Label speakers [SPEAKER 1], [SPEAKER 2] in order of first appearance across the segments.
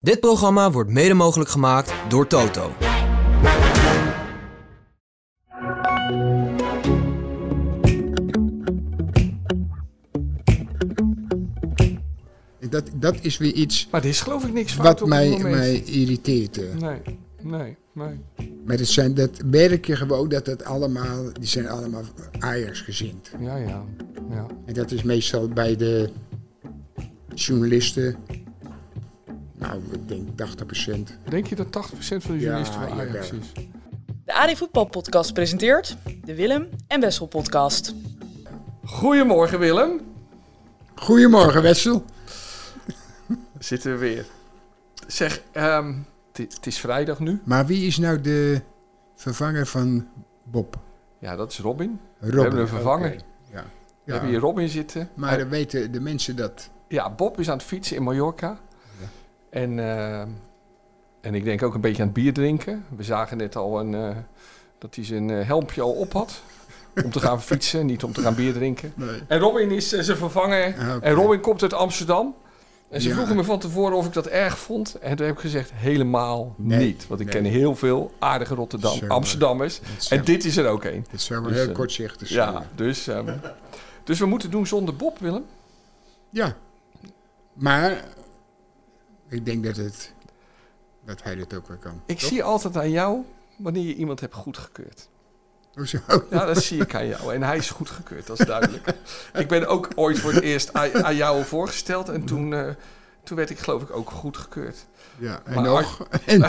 [SPEAKER 1] Dit programma wordt mede mogelijk gemaakt door Toto.
[SPEAKER 2] Dat, dat is weer iets
[SPEAKER 3] Maar er is geloof ik niks fout
[SPEAKER 2] wat
[SPEAKER 3] op
[SPEAKER 2] mij,
[SPEAKER 3] het moment.
[SPEAKER 2] mij irriteert. eh.
[SPEAKER 3] Nee, nee, nee.
[SPEAKER 2] Maar dat, zijn, dat merk je gewoon dat het allemaal, die zijn allemaal Ajax gezind.
[SPEAKER 3] Ja, ja, ja.
[SPEAKER 2] En dat is meestal bij de journalisten, nou ik denk 80%.
[SPEAKER 3] Denk je dat 80% van de journalisten
[SPEAKER 2] Ja,
[SPEAKER 3] van Ajax
[SPEAKER 2] jawel.
[SPEAKER 3] is?
[SPEAKER 4] De AD Voetbal Podcast presenteert de Willem en Wessel Podcast.
[SPEAKER 3] Goedemorgen Willem.
[SPEAKER 2] Goedemorgen Wessel.
[SPEAKER 3] Zitten we weer. Zeg, ehm, het het is vrijdag nu.
[SPEAKER 2] Maar wie is nou de vervanger van Bob?
[SPEAKER 3] Ja, dat is Robin.
[SPEAKER 2] Robin.
[SPEAKER 3] We hebben een vervanger.
[SPEAKER 2] Oké, Ja.
[SPEAKER 3] We
[SPEAKER 2] Ja,
[SPEAKER 3] hebben hier Robin zitten.
[SPEAKER 2] Maar
[SPEAKER 3] Eh,
[SPEAKER 2] dan weten de mensen dat.
[SPEAKER 3] ja, Bob is aan het fietsen in Mallorca.
[SPEAKER 2] Ja.
[SPEAKER 3] En, ehm, en ik denk ook een beetje aan het bier drinken. We zagen net al een, eh, dat hij zijn eh, helmpje al op had. Om te gaan fietsen, niet om te gaan bier drinken.
[SPEAKER 2] Nee.
[SPEAKER 3] En Robin is eh, zijn vervanger.
[SPEAKER 2] Ah, oké.
[SPEAKER 3] En Robin komt uit Amsterdam. En ze
[SPEAKER 2] Ja.
[SPEAKER 3] vroegen me van tevoren of ik dat erg vond. En toen heb ik gezegd, helemaal
[SPEAKER 2] Nee,
[SPEAKER 3] niet. Want ik
[SPEAKER 2] nee.
[SPEAKER 3] ken heel veel aardige Rotterdam,
[SPEAKER 2] Zo.
[SPEAKER 3] Amsterdammers.
[SPEAKER 2] zou-
[SPEAKER 3] En dit is er ook een.
[SPEAKER 2] Het zou wel
[SPEAKER 3] Dus,
[SPEAKER 2] heel
[SPEAKER 3] eh,
[SPEAKER 2] kortzichtig zijn.
[SPEAKER 3] Ja, dus, ehm, dus we moeten doen zonder Bob, Willem.
[SPEAKER 2] Ja. Maar ik denk dat, het, dat hij dat ook wel kan.
[SPEAKER 3] Ik
[SPEAKER 2] Toch?
[SPEAKER 3] zie altijd aan jou wanneer je iemand hebt goedgekeurd.
[SPEAKER 2] Hoezo?
[SPEAKER 3] Ja, dat zie ik aan jou. En hij is goedgekeurd, dat is duidelijk. ik ben ook ooit voor het eerst aan, aan jou voorgesteld. En toen, eh, toen werd ik geloof ik ook goedgekeurd.
[SPEAKER 2] Ja, en
[SPEAKER 3] Maar
[SPEAKER 2] nog? En,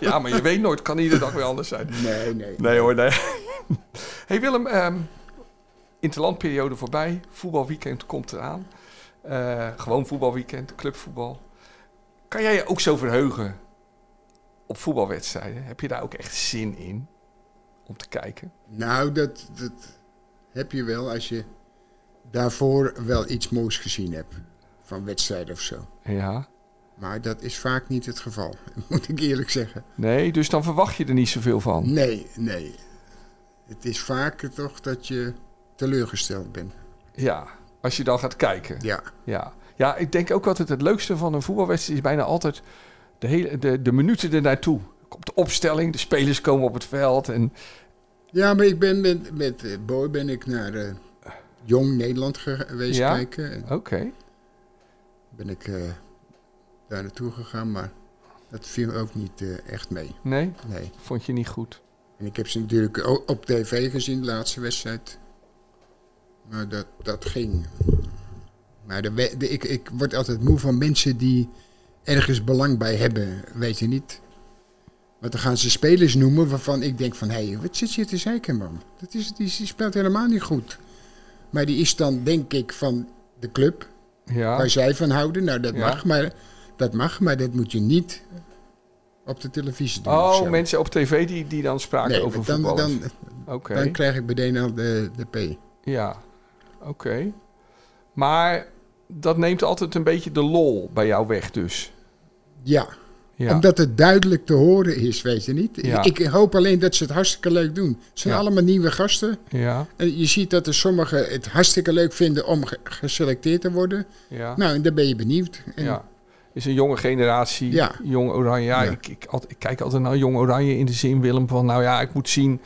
[SPEAKER 3] Ja, maar je weet nooit, kan iedere dag weer anders zijn.
[SPEAKER 2] nee, nee.
[SPEAKER 3] Nee hoor, nee. hey Willem, ehm interlandperiode voorbij. Voetbalweekend komt eraan. Eh, gewoon voetbalweekend, clubvoetbal. Kan jij je ook zo verheugen op voetbalwedstrijden? Heb je daar ook echt zin in om te kijken?
[SPEAKER 2] Nou, dat, dat heb je wel als je daarvoor wel iets moois gezien hebt. Van wedstrijden of zo.
[SPEAKER 3] Ja.
[SPEAKER 2] Maar dat is vaak niet het geval, moet ik eerlijk zeggen.
[SPEAKER 3] Nee, dus dan verwacht je er niet zoveel van.
[SPEAKER 2] Nee, nee. Het is vaak toch dat je teleurgesteld bent.
[SPEAKER 3] Ja, als je dan gaat kijken.
[SPEAKER 2] Ja,
[SPEAKER 3] Ja. ja, ik denk ook altijd het leukste van een voetbalwedstrijd is bijna altijd de, hele, de, de minuten ernaartoe. Komt de opstelling, de spelers komen op het veld en
[SPEAKER 2] ja maar ik ben met, met eh, Boy ben ik naar eh, Jong Nederland ge- geweest
[SPEAKER 3] Ja?
[SPEAKER 2] kijken. En
[SPEAKER 3] Oké.
[SPEAKER 2] ben ik eh, daar naartoe gegaan, maar dat viel ook niet eh, echt mee.
[SPEAKER 3] Nee,
[SPEAKER 2] Nee.
[SPEAKER 3] vond je niet goed.
[SPEAKER 2] En ik heb ze natuurlijk o- op tv gezien, de laatste wedstrijd. Maar dat, dat ging. Maar de, we- de- ik, ik word altijd moe van mensen die ergens belang bij hebben, weet je niet. Want dan gaan ze spelers noemen waarvan ik denk van... hé, hey, wat zit je te zeiken, man? Dat is, die, die speelt helemaal niet goed. Maar die is dan, denk ik, van de club.
[SPEAKER 3] Ja,
[SPEAKER 2] waar zij van houden. Nou, dat,
[SPEAKER 3] Ja.
[SPEAKER 2] mag, maar, dat mag, maar dat moet je niet op de televisie doen. of
[SPEAKER 3] oh,
[SPEAKER 2] zo.
[SPEAKER 3] mensen op tv die, die dan spraken
[SPEAKER 2] Nee,
[SPEAKER 3] over
[SPEAKER 2] dan,
[SPEAKER 3] voetballers.
[SPEAKER 2] dan,
[SPEAKER 3] Oké,
[SPEAKER 2] dan krijg ik meteen al de, de P.
[SPEAKER 3] ja. Oké. Maar dat neemt altijd een beetje de lol bij jou weg dus.
[SPEAKER 2] Ja,
[SPEAKER 3] Ja,
[SPEAKER 2] omdat het duidelijk te horen is, weet je niet.
[SPEAKER 3] Ja.
[SPEAKER 2] Ik hoop alleen dat ze het hartstikke leuk doen. Het zijn
[SPEAKER 3] Ja.
[SPEAKER 2] allemaal nieuwe gasten.
[SPEAKER 3] ja,
[SPEAKER 2] En je ziet dat er sommigen het hartstikke leuk vinden om ge- geselecteerd te worden.
[SPEAKER 3] ja.
[SPEAKER 2] Nou, en dan ben je benieuwd. En
[SPEAKER 3] ja. Is een jonge generatie,
[SPEAKER 2] Ja.
[SPEAKER 3] jong Oranje. Ja,
[SPEAKER 2] Ja.
[SPEAKER 3] Ik, ik, al- ik kijk altijd naar jong Oranje in de zin, Willem, van nou ja, ik moet zien...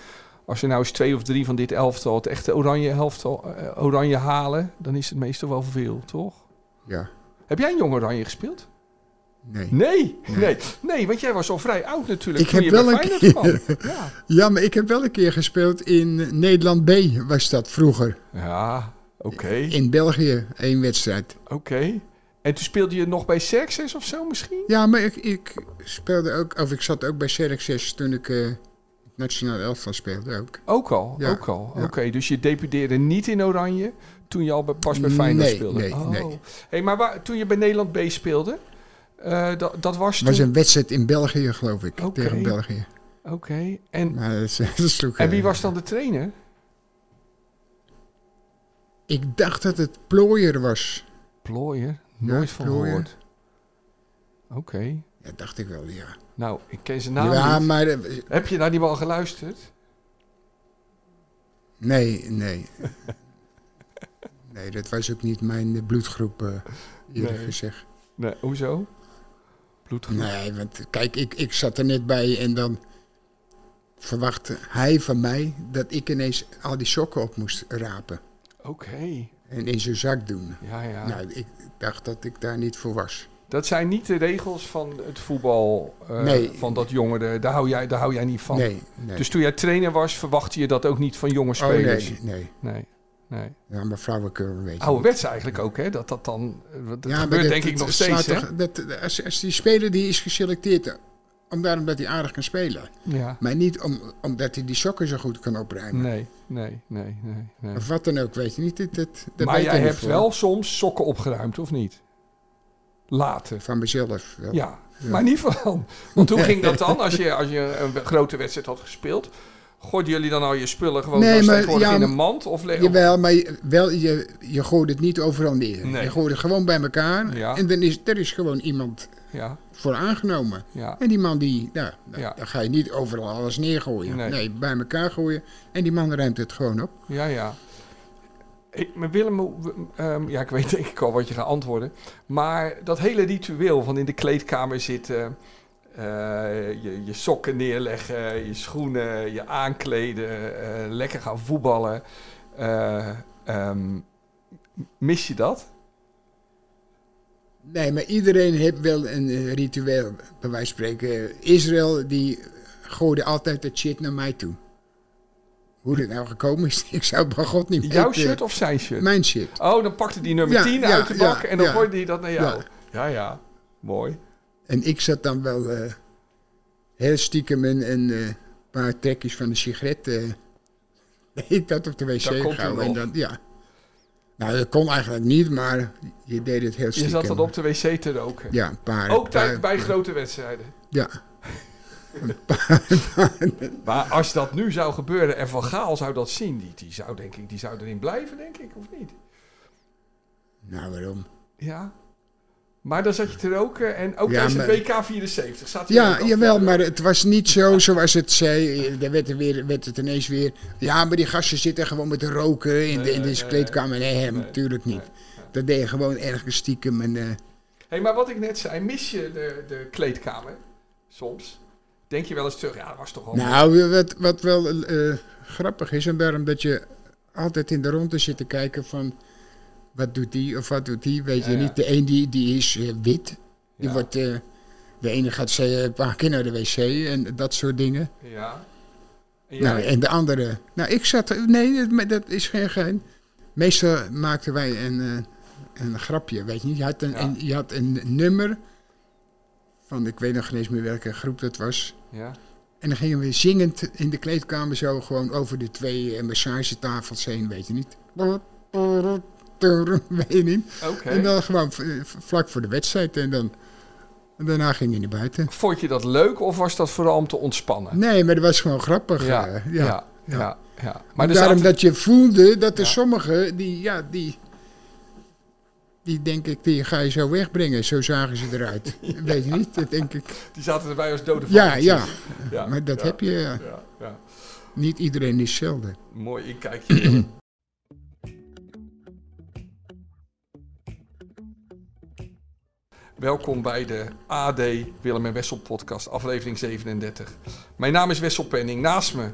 [SPEAKER 3] Als er nou eens twee of drie van dit elftal het echte oranje, elftal, eh, oranje halen, dan is het meestal wel veel, toch?
[SPEAKER 2] ja.
[SPEAKER 3] Heb jij een jong oranje gespeeld?
[SPEAKER 2] Nee.
[SPEAKER 3] Nee, nee, nee, want jij was al vrij oud natuurlijk.
[SPEAKER 2] Ik
[SPEAKER 3] toen
[SPEAKER 2] heb
[SPEAKER 3] je
[SPEAKER 2] wel
[SPEAKER 3] bij
[SPEAKER 2] een
[SPEAKER 3] Feyenoord kwam. Ja.
[SPEAKER 2] Ja, maar ik heb wel een keer gespeeld in Nederland B, was dat vroeger.
[SPEAKER 3] Ja, oké,
[SPEAKER 2] In België, één wedstrijd.
[SPEAKER 3] oké. En toen speelde je nog bij Xerxes of zo misschien?
[SPEAKER 2] Ja, maar ik, ik speelde ook, of ik zat ook bij Xerxes toen ik eh, het nationaal elftal speelde ook.
[SPEAKER 3] Ook al,
[SPEAKER 2] Ja,
[SPEAKER 3] ook al.
[SPEAKER 2] ja.
[SPEAKER 3] Oké, dus je deputeerde niet in Oranje toen je al bij, pas bij Feyenoord
[SPEAKER 2] Nee,
[SPEAKER 3] speelde?
[SPEAKER 2] nee,
[SPEAKER 3] oh.
[SPEAKER 2] nee.
[SPEAKER 3] Hey, maar waar, toen je bij Nederland B speelde, eh, dat, dat was
[SPEAKER 2] Het
[SPEAKER 3] toen...
[SPEAKER 2] was een wedstrijd in België, geloof ik,
[SPEAKER 3] Oké.
[SPEAKER 2] tegen België.
[SPEAKER 3] Oké, en,
[SPEAKER 2] Maar dat, is- dat sloeg,
[SPEAKER 3] en
[SPEAKER 2] eh,
[SPEAKER 3] wie was dan de trainer?
[SPEAKER 2] Ik dacht dat het Plooier was.
[SPEAKER 3] Plooier, nooit van
[SPEAKER 2] Plooier.
[SPEAKER 3] gehoord. Oké,
[SPEAKER 2] Ja, dacht ik wel, ja.
[SPEAKER 3] nou, ik ken zijn naam
[SPEAKER 2] ja,
[SPEAKER 3] niet.
[SPEAKER 2] maar... eh,
[SPEAKER 3] Heb je naar die bal geluisterd?
[SPEAKER 2] Nee, nee. nee, dat was ook niet mijn eh, bloedgroep, eh, eerlijk
[SPEAKER 3] Nee.
[SPEAKER 2] gezegd.
[SPEAKER 3] Nee, hoezo? bloedgroep.
[SPEAKER 2] Nee, want kijk, ik, ik zat er net bij en dan verwachtte hij van mij dat ik ineens al die sokken op moest rapen.
[SPEAKER 3] Oké,
[SPEAKER 2] En in zijn zak doen.
[SPEAKER 3] ja, ja.
[SPEAKER 2] Nou, ik dacht dat ik daar niet voor was.
[SPEAKER 3] Dat zijn niet de regels van het voetbal. eh,
[SPEAKER 2] Nee.
[SPEAKER 3] Van dat jongeren, daar hou jij, daar hou jij niet van.
[SPEAKER 2] Nee, nee.
[SPEAKER 3] Dus toen jij trainer was, verwachtte je dat ook niet van jonge
[SPEAKER 2] oh
[SPEAKER 3] spelers?
[SPEAKER 2] nee, nee.
[SPEAKER 3] nee. nee.
[SPEAKER 2] Ja, maar vrouwenkeur, weet je.
[SPEAKER 3] Ouderwets eigenlijk ook, hè? Dat dat dan. eh, Oh, Dat
[SPEAKER 2] ja, maar
[SPEAKER 3] gebeurt
[SPEAKER 2] dat-
[SPEAKER 3] denk ik
[SPEAKER 2] dat
[SPEAKER 3] nog
[SPEAKER 2] slaat
[SPEAKER 3] steeds, hè?
[SPEAKER 2] toch- dat, als, als die speler die is geselecteerd, omdat, omdat hij aardig kan spelen.
[SPEAKER 3] Ja.
[SPEAKER 2] Maar niet om, omdat hij die sokken zo goed kan opruimen.
[SPEAKER 3] Nee, nee, nee, nee. nee.
[SPEAKER 2] Of wat dan ook, weet je niet. Dat, dat, dat
[SPEAKER 3] Maar
[SPEAKER 2] weet
[SPEAKER 3] jij
[SPEAKER 2] ik niet
[SPEAKER 3] hebt
[SPEAKER 2] voor.
[SPEAKER 3] wel soms sokken opgeruimd, of niet? Later.
[SPEAKER 2] Van mezelf. wel.
[SPEAKER 3] Ja, maar niet van. Want hoe ging dat dan? Als je, als je een grote wedstrijd had gespeeld, gooiden jullie dan al je spullen gewoon
[SPEAKER 2] Nee,
[SPEAKER 3] als
[SPEAKER 2] maar-
[SPEAKER 3] tegenwoordig
[SPEAKER 2] ja,
[SPEAKER 3] in een
[SPEAKER 2] maar-
[SPEAKER 3] mand? Of le-
[SPEAKER 2] Jawel, maar je, wel, je, je gooit het niet overal neer.
[SPEAKER 3] Nee.
[SPEAKER 2] Je gooit het gewoon bij elkaar.
[SPEAKER 3] Ja.
[SPEAKER 2] En dan is, er is gewoon iemand
[SPEAKER 3] Ja,
[SPEAKER 2] voor aangenomen.
[SPEAKER 3] ja.
[SPEAKER 2] En die man die, nou, nou,
[SPEAKER 3] Ja.
[SPEAKER 2] dan ga je niet overal alles neergooien.
[SPEAKER 3] Nee.
[SPEAKER 2] Nee. bij elkaar gooien. En die man ruimt het gewoon op.
[SPEAKER 3] Ja, ja. Ik, maar Willem, hoe- ehm, ja, ik weet denk ik al wat je gaat antwoorden. Maar dat hele ritueel van in de kleedkamer zitten, eh, je, je sokken neerleggen, je schoenen, je aankleden, eh, lekker gaan voetballen. eh, ehm, mis je dat?
[SPEAKER 2] Nee, maar iedereen heeft wel een eh, ritueel, bij wijze van spreken. Israël, die gooide altijd dat shit naar mij toe. Hoe dit nou gekomen is, ik zou het bij God niet
[SPEAKER 3] Jouw
[SPEAKER 2] weten.
[SPEAKER 3] shirt of zijn shirt?
[SPEAKER 2] Mijn shit.
[SPEAKER 3] Oh, dan pakte die nummer
[SPEAKER 2] Ja,
[SPEAKER 3] 10
[SPEAKER 2] ja,
[SPEAKER 3] uit de bak
[SPEAKER 2] ja,
[SPEAKER 3] en dan
[SPEAKER 2] ja.
[SPEAKER 3] gooide hij dat naar jou.
[SPEAKER 2] Ja.
[SPEAKER 3] Ja, ja. Mooi.
[SPEAKER 2] En ik zat dan wel eh, heel stiekem een, een eh, paar trekjes van de sigaret. eh, ik dat op de wc
[SPEAKER 3] Daar komt u
[SPEAKER 2] gehouden. En
[SPEAKER 3] nog.
[SPEAKER 2] dan, ja. Nou, dat kon eigenlijk niet, maar je deed het heel
[SPEAKER 3] Je
[SPEAKER 2] stiekem.
[SPEAKER 3] zat dan op de wc te roken.
[SPEAKER 2] Ja, een paar.
[SPEAKER 3] Ook
[SPEAKER 2] paar-
[SPEAKER 3] tijd bij grote wedstrijden.
[SPEAKER 2] Ja.
[SPEAKER 3] Maar als dat nu zou gebeuren en Van Gaal zou dat zien, die, die zou denk ik, die zou erin blijven, denk ik, of niet?
[SPEAKER 2] Nou, waarom?
[SPEAKER 3] Ja. Maar dan zat je te roken en ook
[SPEAKER 2] Ja,
[SPEAKER 3] tijdens
[SPEAKER 2] maar-
[SPEAKER 3] het WK 74 zat hij
[SPEAKER 2] Ja,
[SPEAKER 3] ook al-
[SPEAKER 2] jawel, maar het was niet zo zoals het zei. Dan werd, er weer, werd het ineens weer... Ja, maar die gasten zitten gewoon met te roken in, de, in deze
[SPEAKER 3] nee,
[SPEAKER 2] kleedkamer. Nee, hem,
[SPEAKER 3] nee,
[SPEAKER 2] natuurlijk niet.
[SPEAKER 3] nee,
[SPEAKER 2] Dat deed je gewoon ergens stiekem. En, eh,
[SPEAKER 3] hey, maar wat ik net zei, mis je de, de kleedkamer soms? Denk je wel eens terug, ja, dat was toch wel...
[SPEAKER 2] Nou, wat, wat wel eh, grappig is, en daarom dat je altijd in de ronde zit te kijken van wat doet die of wat doet die, weet
[SPEAKER 3] Ja,
[SPEAKER 2] je
[SPEAKER 3] ja.
[SPEAKER 2] niet. De een die, die is eh, wit, die
[SPEAKER 3] Ja.
[SPEAKER 2] wordt, eh, de ene gaat ze- een paar keer naar de wc en dat soort dingen.
[SPEAKER 3] Ja. En jij?
[SPEAKER 2] Nou, en de andere, nou ik zat, nee, dat, maar dat is geen geheim. Meestal maakten wij een, eh, een grapje, weet je niet. Je had een,
[SPEAKER 3] Ja.
[SPEAKER 2] een- je had een nummer van, ik weet nog geen eens meer welke groep dat was.
[SPEAKER 3] ja.
[SPEAKER 2] En dan gingen we zingend in de kleedkamer zo gewoon over de twee eh, massagetafels heen, weet je niet. Weet je niet.
[SPEAKER 3] Oké.
[SPEAKER 2] En dan gewoon v- v- vlak voor de wedstrijd en dan... En daarna ging je naar buiten.
[SPEAKER 3] Vond je dat leuk of was dat vooral om te ontspannen?
[SPEAKER 2] Nee, maar dat was gewoon grappig.
[SPEAKER 3] ja,
[SPEAKER 2] eh,
[SPEAKER 3] ja, ja, ja.
[SPEAKER 2] Maar
[SPEAKER 3] er
[SPEAKER 2] daarom
[SPEAKER 3] zaten-
[SPEAKER 2] dat je voelde dat er
[SPEAKER 3] Ja.
[SPEAKER 2] sommigen, die, ja, die... Die denk ik, die ga je zo wegbrengen. Zo zagen ze eruit. Weet je niet, dat denk ik.
[SPEAKER 3] die zaten erbij als dode
[SPEAKER 2] Ja,
[SPEAKER 3] varkens.
[SPEAKER 2] ja,
[SPEAKER 3] Ja,
[SPEAKER 2] maar dat
[SPEAKER 3] ja,
[SPEAKER 2] heb je. eh,
[SPEAKER 3] Ja, ja.
[SPEAKER 2] Niet iedereen is hetzelfde.
[SPEAKER 3] Mooi inkijkje. Welkom bij de AD Willem en Wessel podcast, aflevering 37. Mijn naam is Wessel Penning. Naast me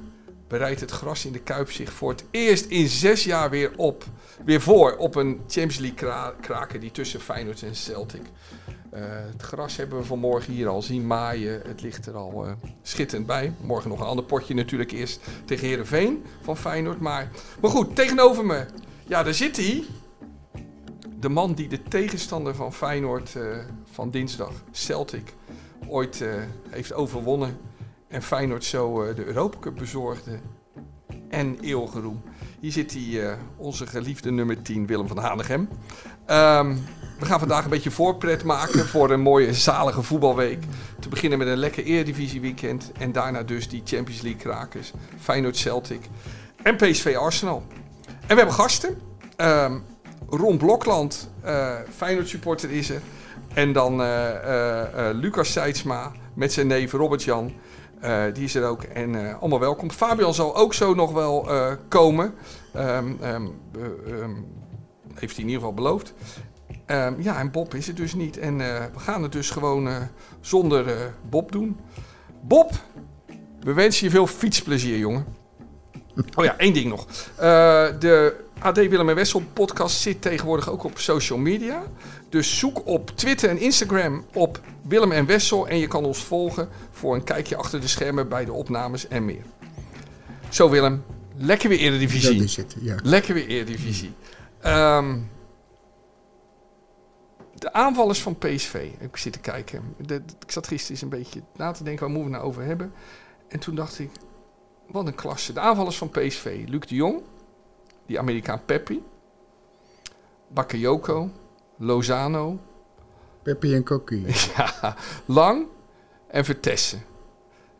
[SPEAKER 3] bereidt het gras in de Kuip zich voor het eerst in zes jaar weer op. Weer voor op een Champions League kra- kraker die tussen Feyenoord en Celtic. Eh, het gras hebben we vanmorgen hier al zien maaien. Het ligt er al eh, schitterend bij. Morgen nog een ander potje natuurlijk eerst tegen Herenveen van Feyenoord. Maar, maar goed, tegenover me. Ja, daar zit hij. De man die de tegenstander van Feyenoord eh, van dinsdag, Celtic, ooit eh, heeft overwonnen. En Feyenoord zo eh, de Europa Cup bezorgde. En eeuwige roem. Hier zit hij, eh, onze geliefde nummer 10, Willem van Hanegem. Ehm, we gaan vandaag een beetje voorpret maken voor een mooie zalige voetbalweek. Te beginnen met een lekker Eredivisie weekend. En daarna dus die Champions League krakers. Feyenoord Celtic en PSV Arsenal. En we hebben gasten. Ehm, Ron Blokland, eh Feyenoord supporter is er. En dan eh, eh, eh, Lucas Seidsma met zijn neef Robert-Jan. Eh, die is er ook. En eh, allemaal welkom. Fabian zal ook zo nog wel eh, komen. Ehm, ehm, eh, ehm, heeft hij in ieder geval beloofd. Ehm, ja, en Bob is het dus niet. En eh, we gaan het dus gewoon eh, zonder eh, Bob doen. Bob, we wensen je veel fietsplezier, jongen. Oh ja, één ding nog. Eh, de AD Willem en Wessel podcast zit tegenwoordig ook op social media. Dus zoek op Twitter en Instagram op Willem en Wessel. En je kan ons volgen voor een kijkje achter de schermen bij de opnames en meer. Zo Willem, lekker weer Eredivisie.
[SPEAKER 2] Dat is het, ja.
[SPEAKER 3] Lekker weer Eredivisie. Ehm de aanvallers van PSV. Ik zit te kijken. De- de- ik zat gisteren eens een beetje na te denken. Waar moeten we het nou over hebben? En toen dacht ik. Wat een klasse. De aanvallers van PSV. Luc de Jong. Die Amerikaan Peppi. Bakayoko. Lozano.
[SPEAKER 2] Peppi en Kokkie.
[SPEAKER 3] Ja, Lang en Vertessen.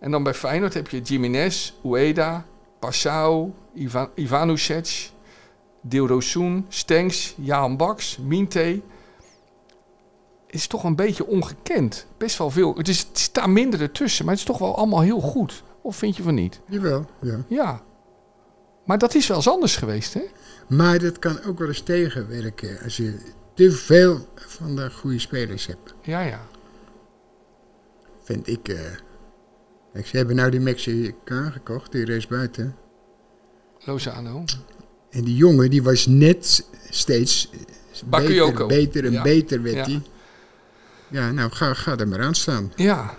[SPEAKER 3] En dan bij Feyenoord heb je Jiménez, Ueda, Passau, Ivan, Ivanusec, Dilrosun, Stenks, Jaan Baks, Minte. Is toch een beetje ongekend. Best wel veel. Het, is, het staat minder ertussen, maar het is toch wel allemaal heel goed. Of vind je van niet?
[SPEAKER 2] Jawel, ja.
[SPEAKER 3] Ja. Maar dat is wel eens anders geweest, hè?
[SPEAKER 2] Maar dat kan ook wel eens tegenwerken als je te veel van de goede spelers hebt,
[SPEAKER 3] Ja, ja.
[SPEAKER 2] vind ik. eh. Kijk, ze hebben nou die Mexicaan gekocht, die race buiten.
[SPEAKER 3] Lozano.
[SPEAKER 2] En die jongen, die was net steeds beter,
[SPEAKER 3] Bakayoko.
[SPEAKER 2] beter en
[SPEAKER 3] Ja.
[SPEAKER 2] beter werd
[SPEAKER 3] Ja.
[SPEAKER 2] hij. Ja, nou, ga, ga er maar aan staan.
[SPEAKER 3] Ja.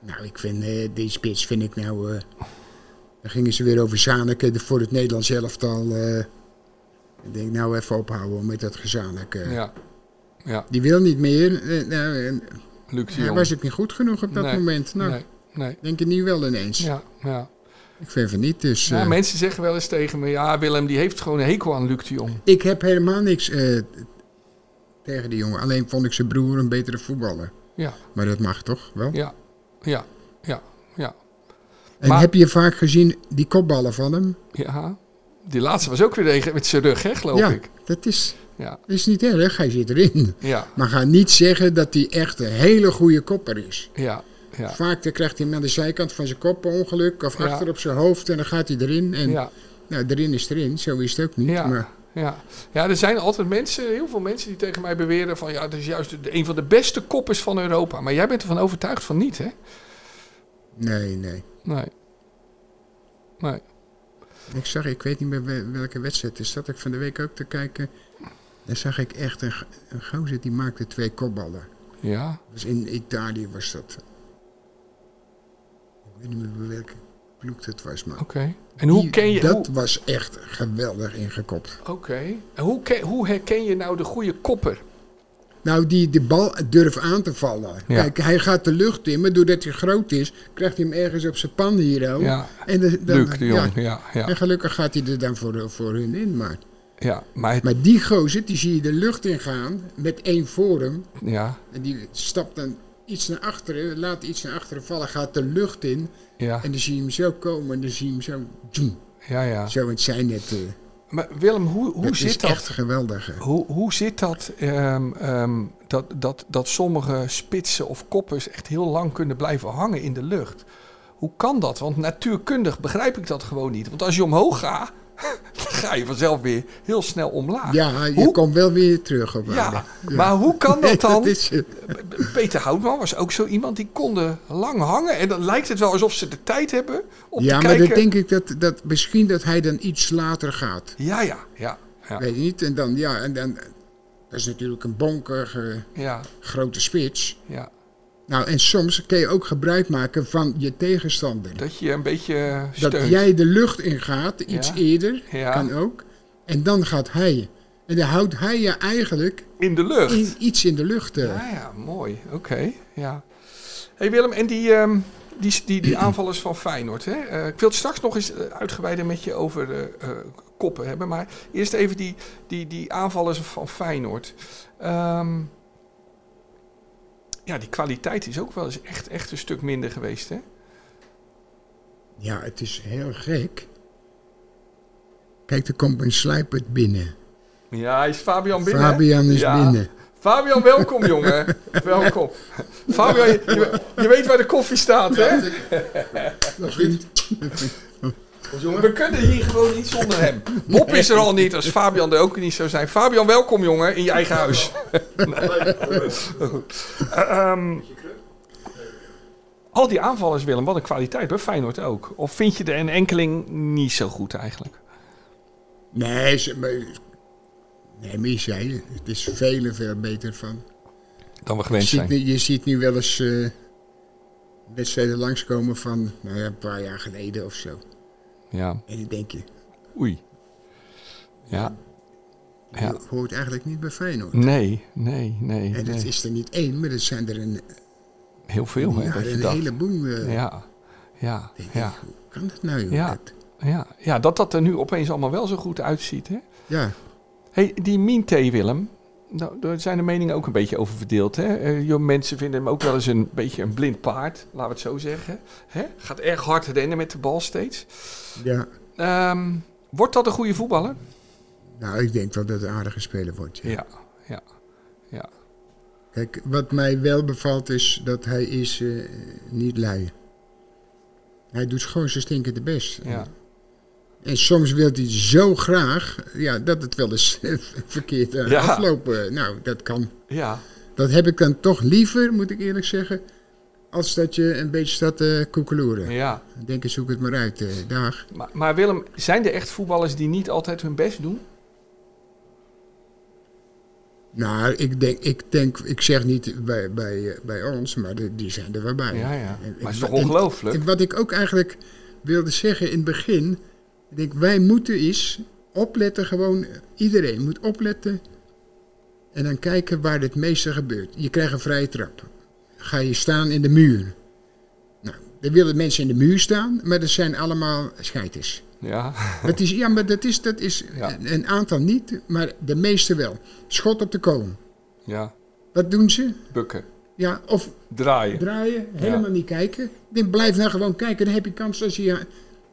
[SPEAKER 2] Nou, ik vind, eh, die spits vind ik nou... eh dan gingen ze weer over Zaneke voor het Nederlands elftal. eh ik denk, nou even ophouden met dat gezamenlijke.
[SPEAKER 3] Ja. Ja.
[SPEAKER 2] Die wil niet meer. Eh, nou, en
[SPEAKER 3] Luc de
[SPEAKER 2] hij
[SPEAKER 3] Jong.
[SPEAKER 2] was ook niet goed genoeg op dat
[SPEAKER 3] Nee,
[SPEAKER 2] moment. Nou,
[SPEAKER 3] Nee. Nee.
[SPEAKER 2] denk je nu wel ineens.
[SPEAKER 3] Ja. Ja.
[SPEAKER 2] Ik vind van niet, dus...
[SPEAKER 3] Ja,
[SPEAKER 2] eh,
[SPEAKER 3] mensen zeggen wel eens tegen me, ja, Willem die heeft gewoon een hekel aan Luc de Jong.
[SPEAKER 2] ik heb helemaal niks eh, tegen die jongen. Alleen vond ik zijn broer een betere voetballer.
[SPEAKER 3] Ja,
[SPEAKER 2] Maar dat mag toch wel?
[SPEAKER 3] ja, ja, ja, ja.
[SPEAKER 2] En
[SPEAKER 3] Maar-
[SPEAKER 2] heb je vaak gezien die kopballen van hem?
[SPEAKER 3] ja. Die laatste was ook weer tegen- met zijn rug, hè, geloof
[SPEAKER 2] ja,
[SPEAKER 3] ik.
[SPEAKER 2] dat is,
[SPEAKER 3] Ja,
[SPEAKER 2] is niet erg. Hij zit erin.
[SPEAKER 3] ja,
[SPEAKER 2] Maar ga niet zeggen dat hij echt een hele goede kopper is.
[SPEAKER 3] ja, ja.
[SPEAKER 2] Vaak dan krijgt hij hem aan de zijkant van zijn kop een ongeluk of
[SPEAKER 3] Ja.
[SPEAKER 2] achter op zijn hoofd en dan gaat hij erin. En
[SPEAKER 3] Ja,
[SPEAKER 2] nou, erin is erin, zo is het ook niet.
[SPEAKER 3] ja,
[SPEAKER 2] Maar
[SPEAKER 3] ja. ja, er zijn altijd mensen, heel veel mensen die tegen mij beweren van, ja, het is juist de- een van de beste koppers van Europa. Maar jij bent ervan overtuigd van niet, hè?
[SPEAKER 2] nee, nee.
[SPEAKER 3] Nee. Nee.
[SPEAKER 2] Ik zag, ik weet niet meer wel- welke wedstrijd is. Zat ik van de week ook te kijken. Daar zag ik echt een, g- een gozer die maakte twee kopballen.
[SPEAKER 3] Ja,
[SPEAKER 2] Dus in Italië was dat. eh, Ik weet niet meer bij welke ploeg dat was, maar.
[SPEAKER 3] oké. En hoe
[SPEAKER 2] die-
[SPEAKER 3] ken je...
[SPEAKER 2] dat
[SPEAKER 3] hoe-
[SPEAKER 2] was echt geweldig ingekopt.
[SPEAKER 3] Oké. En hoe, ken- hoe herken je nou de goede kopper?
[SPEAKER 2] Nou, die de bal durft aan te vallen.
[SPEAKER 3] Ja.
[SPEAKER 2] Kijk, hij gaat de lucht in, maar doordat hij groot is, krijgt hij hem ergens op zijn pan hier ook.
[SPEAKER 3] Ja.
[SPEAKER 2] En, dan- dan-
[SPEAKER 3] Luc de Jong,
[SPEAKER 2] ja.
[SPEAKER 3] ja, ja.
[SPEAKER 2] en gelukkig gaat hij er dan voor, voor hun in. Maar,
[SPEAKER 3] Ja, maar, het-
[SPEAKER 2] maar die gozer, die zie je de lucht in gaan met één voor hem.
[SPEAKER 3] ja,
[SPEAKER 2] En die stapt dan iets naar achteren, laat iets naar achteren vallen, gaat de lucht in.
[SPEAKER 3] ja,
[SPEAKER 2] En dan zie je hem zo komen en dan zie je hem zo... tjoem,
[SPEAKER 3] ja, ja.
[SPEAKER 2] zo het zijn net. eh,
[SPEAKER 3] Maar Willem, hoe, hoe
[SPEAKER 2] dat is
[SPEAKER 3] zit dat?
[SPEAKER 2] echt geweldig. hè.
[SPEAKER 3] Hoe, hoe zit dat, ehm, ehm, dat, dat, dat sommige spitsen of koppers echt heel lang kunnen blijven hangen in de lucht? Hoe kan dat? Want natuurkundig begrijp ik dat gewoon niet. Want als je omhoog gaat, dan ga je vanzelf weer heel snel omlaag.
[SPEAKER 2] Ja, je
[SPEAKER 3] Hoe-
[SPEAKER 2] komt wel weer terug op
[SPEAKER 3] Ja,
[SPEAKER 2] aarde.
[SPEAKER 3] maar hoe kan dat dan?
[SPEAKER 2] dat is, eh,
[SPEAKER 3] Peter Houtman was ook zo iemand die konden lang hangen. En dan lijkt het wel alsof ze de tijd hebben om
[SPEAKER 2] ja,
[SPEAKER 3] te
[SPEAKER 2] maar
[SPEAKER 3] kijken.
[SPEAKER 2] dan denk ik dat, dat misschien dat hij dan iets later gaat.
[SPEAKER 3] Ja, ja, ja. Ja,
[SPEAKER 2] Weet je niet? En dan, ja, en dan, dat is natuurlijk een bonkige
[SPEAKER 3] ja,
[SPEAKER 2] grote spits.
[SPEAKER 3] ja.
[SPEAKER 2] Nou, en soms kun je ook gebruik maken van je tegenstander.
[SPEAKER 3] Dat je een beetje
[SPEAKER 2] Dat
[SPEAKER 3] steunt.
[SPEAKER 2] jij de lucht ingaat, iets
[SPEAKER 3] Ja.
[SPEAKER 2] eerder,
[SPEAKER 3] Ja.
[SPEAKER 2] kan ook. En dan gaat hij. En dan houdt hij je eigenlijk
[SPEAKER 3] In de lucht.
[SPEAKER 2] in, iets in de lucht. eh.
[SPEAKER 3] Ja, ja, mooi. Oké, ja. hey Willem, en die, ehm, die, die, die aanvallers van Feyenoord. Hè? Eh, ik wil het straks nog eens eh, uitgebreider met je over eh, eh, koppen hebben. Maar eerst even die, die, die aanvallers van Feyenoord. Ehm, ja, die kwaliteit is ook wel eens echt, echt een stuk minder geweest, hè?
[SPEAKER 2] Ja, het is heel gek. Kijk, er komt een sluipert binnen.
[SPEAKER 3] Ja, is Fabian binnen? hè?
[SPEAKER 2] Fabian is
[SPEAKER 3] Ja.
[SPEAKER 2] binnen.
[SPEAKER 3] Fabian, welkom, jongen. welkom. Fabian, je, je weet waar de koffie staat, hè?
[SPEAKER 2] Dat vindt...
[SPEAKER 3] We kunnen hier gewoon niet zonder hem. Bob is er al niet als Fabian er ook niet zou zijn. Fabian, welkom jongen in je eigen huis. Eh, ehm, al die aanvallers, Willem, wat een kwaliteit bij Feyenoord ook. Of vind je de een enkeling niet zo goed eigenlijk?
[SPEAKER 2] Nee, ze, maar, nee, maar je zei het. Het is vele veel beter van.
[SPEAKER 3] Dan we
[SPEAKER 2] Je
[SPEAKER 3] gewend
[SPEAKER 2] ziet,
[SPEAKER 3] zijn.
[SPEAKER 2] nu- je ziet nu wel eens eh, wedstrijden langskomen van nou ja, een paar jaar geleden of zo.
[SPEAKER 3] Ja,
[SPEAKER 2] En dan denk je,
[SPEAKER 3] oei. Ja,
[SPEAKER 2] je
[SPEAKER 3] Ja.
[SPEAKER 2] hoort eigenlijk niet bij Feyenoord.
[SPEAKER 3] nee, nee, nee.
[SPEAKER 2] En
[SPEAKER 3] nee.
[SPEAKER 2] dat is er niet één, maar dat zijn er een,
[SPEAKER 3] Heel veel, hè?
[SPEAKER 2] ja,
[SPEAKER 3] dat je
[SPEAKER 2] een
[SPEAKER 3] dat-
[SPEAKER 2] heleboel. eh,
[SPEAKER 3] Ja, ja,
[SPEAKER 2] denk ik,
[SPEAKER 3] ja.
[SPEAKER 2] Hoe kan dat nou? Joh?
[SPEAKER 3] Ja.
[SPEAKER 2] Dat-
[SPEAKER 3] Ja, ja dat dat er nu opeens allemaal wel zo goed uitziet. Hè?
[SPEAKER 2] ja.
[SPEAKER 3] Hey, die Minte, Willem. Nou, daar zijn de meningen ook een beetje over verdeeld. Hè? Eh, joh, mensen vinden hem ook wel eens een beetje een blind paard. Laten we het zo zeggen. Hè? Gaat erg hard rennen met de bal steeds.
[SPEAKER 2] ja.
[SPEAKER 3] Ehm, wordt dat een goede voetballer?
[SPEAKER 2] Nou, ik denk wel dat het een aardige speler wordt. ja.
[SPEAKER 3] Ja, ja, ja.
[SPEAKER 2] Kijk, wat mij wel bevalt is dat hij is eh, niet lui. Hij doet gewoon zijn stinkende best.
[SPEAKER 3] ja.
[SPEAKER 2] En soms wil hij zo graag ja, dat het wel eens verkeerd eh,
[SPEAKER 3] Ja.
[SPEAKER 2] afloopt. Nou, dat kan.
[SPEAKER 3] ja.
[SPEAKER 2] Dat heb ik dan toch liever, moet ik eerlijk zeggen, als dat je een beetje staat te koekeloeren.
[SPEAKER 3] ja.
[SPEAKER 2] Dan Denk eens, zoek het maar uit. eh, dag.
[SPEAKER 3] Maar, maar Willem, zijn er echt voetballers die niet altijd hun best doen?
[SPEAKER 2] Nou, ik denk, ik denk, ik zeg niet bij, bij, eh, bij ons, maar de- die zijn er wel bij.
[SPEAKER 3] Ja, ja.
[SPEAKER 2] En-
[SPEAKER 3] Maar het is
[SPEAKER 2] en-
[SPEAKER 3] toch ongelooflijk?
[SPEAKER 2] en Wat ik ook eigenlijk wilde zeggen in het begin, ik denk, wij moeten eens opletten, gewoon iedereen moet opletten en dan kijken waar het meeste gebeurt. Je krijgt een vrije trap. Ga je staan in de muur. Nou, dan willen mensen in de muur staan, maar dat zijn allemaal scheiters.
[SPEAKER 3] Ja,
[SPEAKER 2] Dat is, ja, maar dat is, dat is
[SPEAKER 3] Ja.
[SPEAKER 2] een- een aantal niet, maar de meeste wel. Schot op de koon.
[SPEAKER 3] ja.
[SPEAKER 2] Wat doen ze?
[SPEAKER 3] Bukken,
[SPEAKER 2] Ja, of
[SPEAKER 3] draaien.
[SPEAKER 2] draaien, helemaal niet kijken. Dan blijf nou gewoon kijken, dan heb je kans als je je,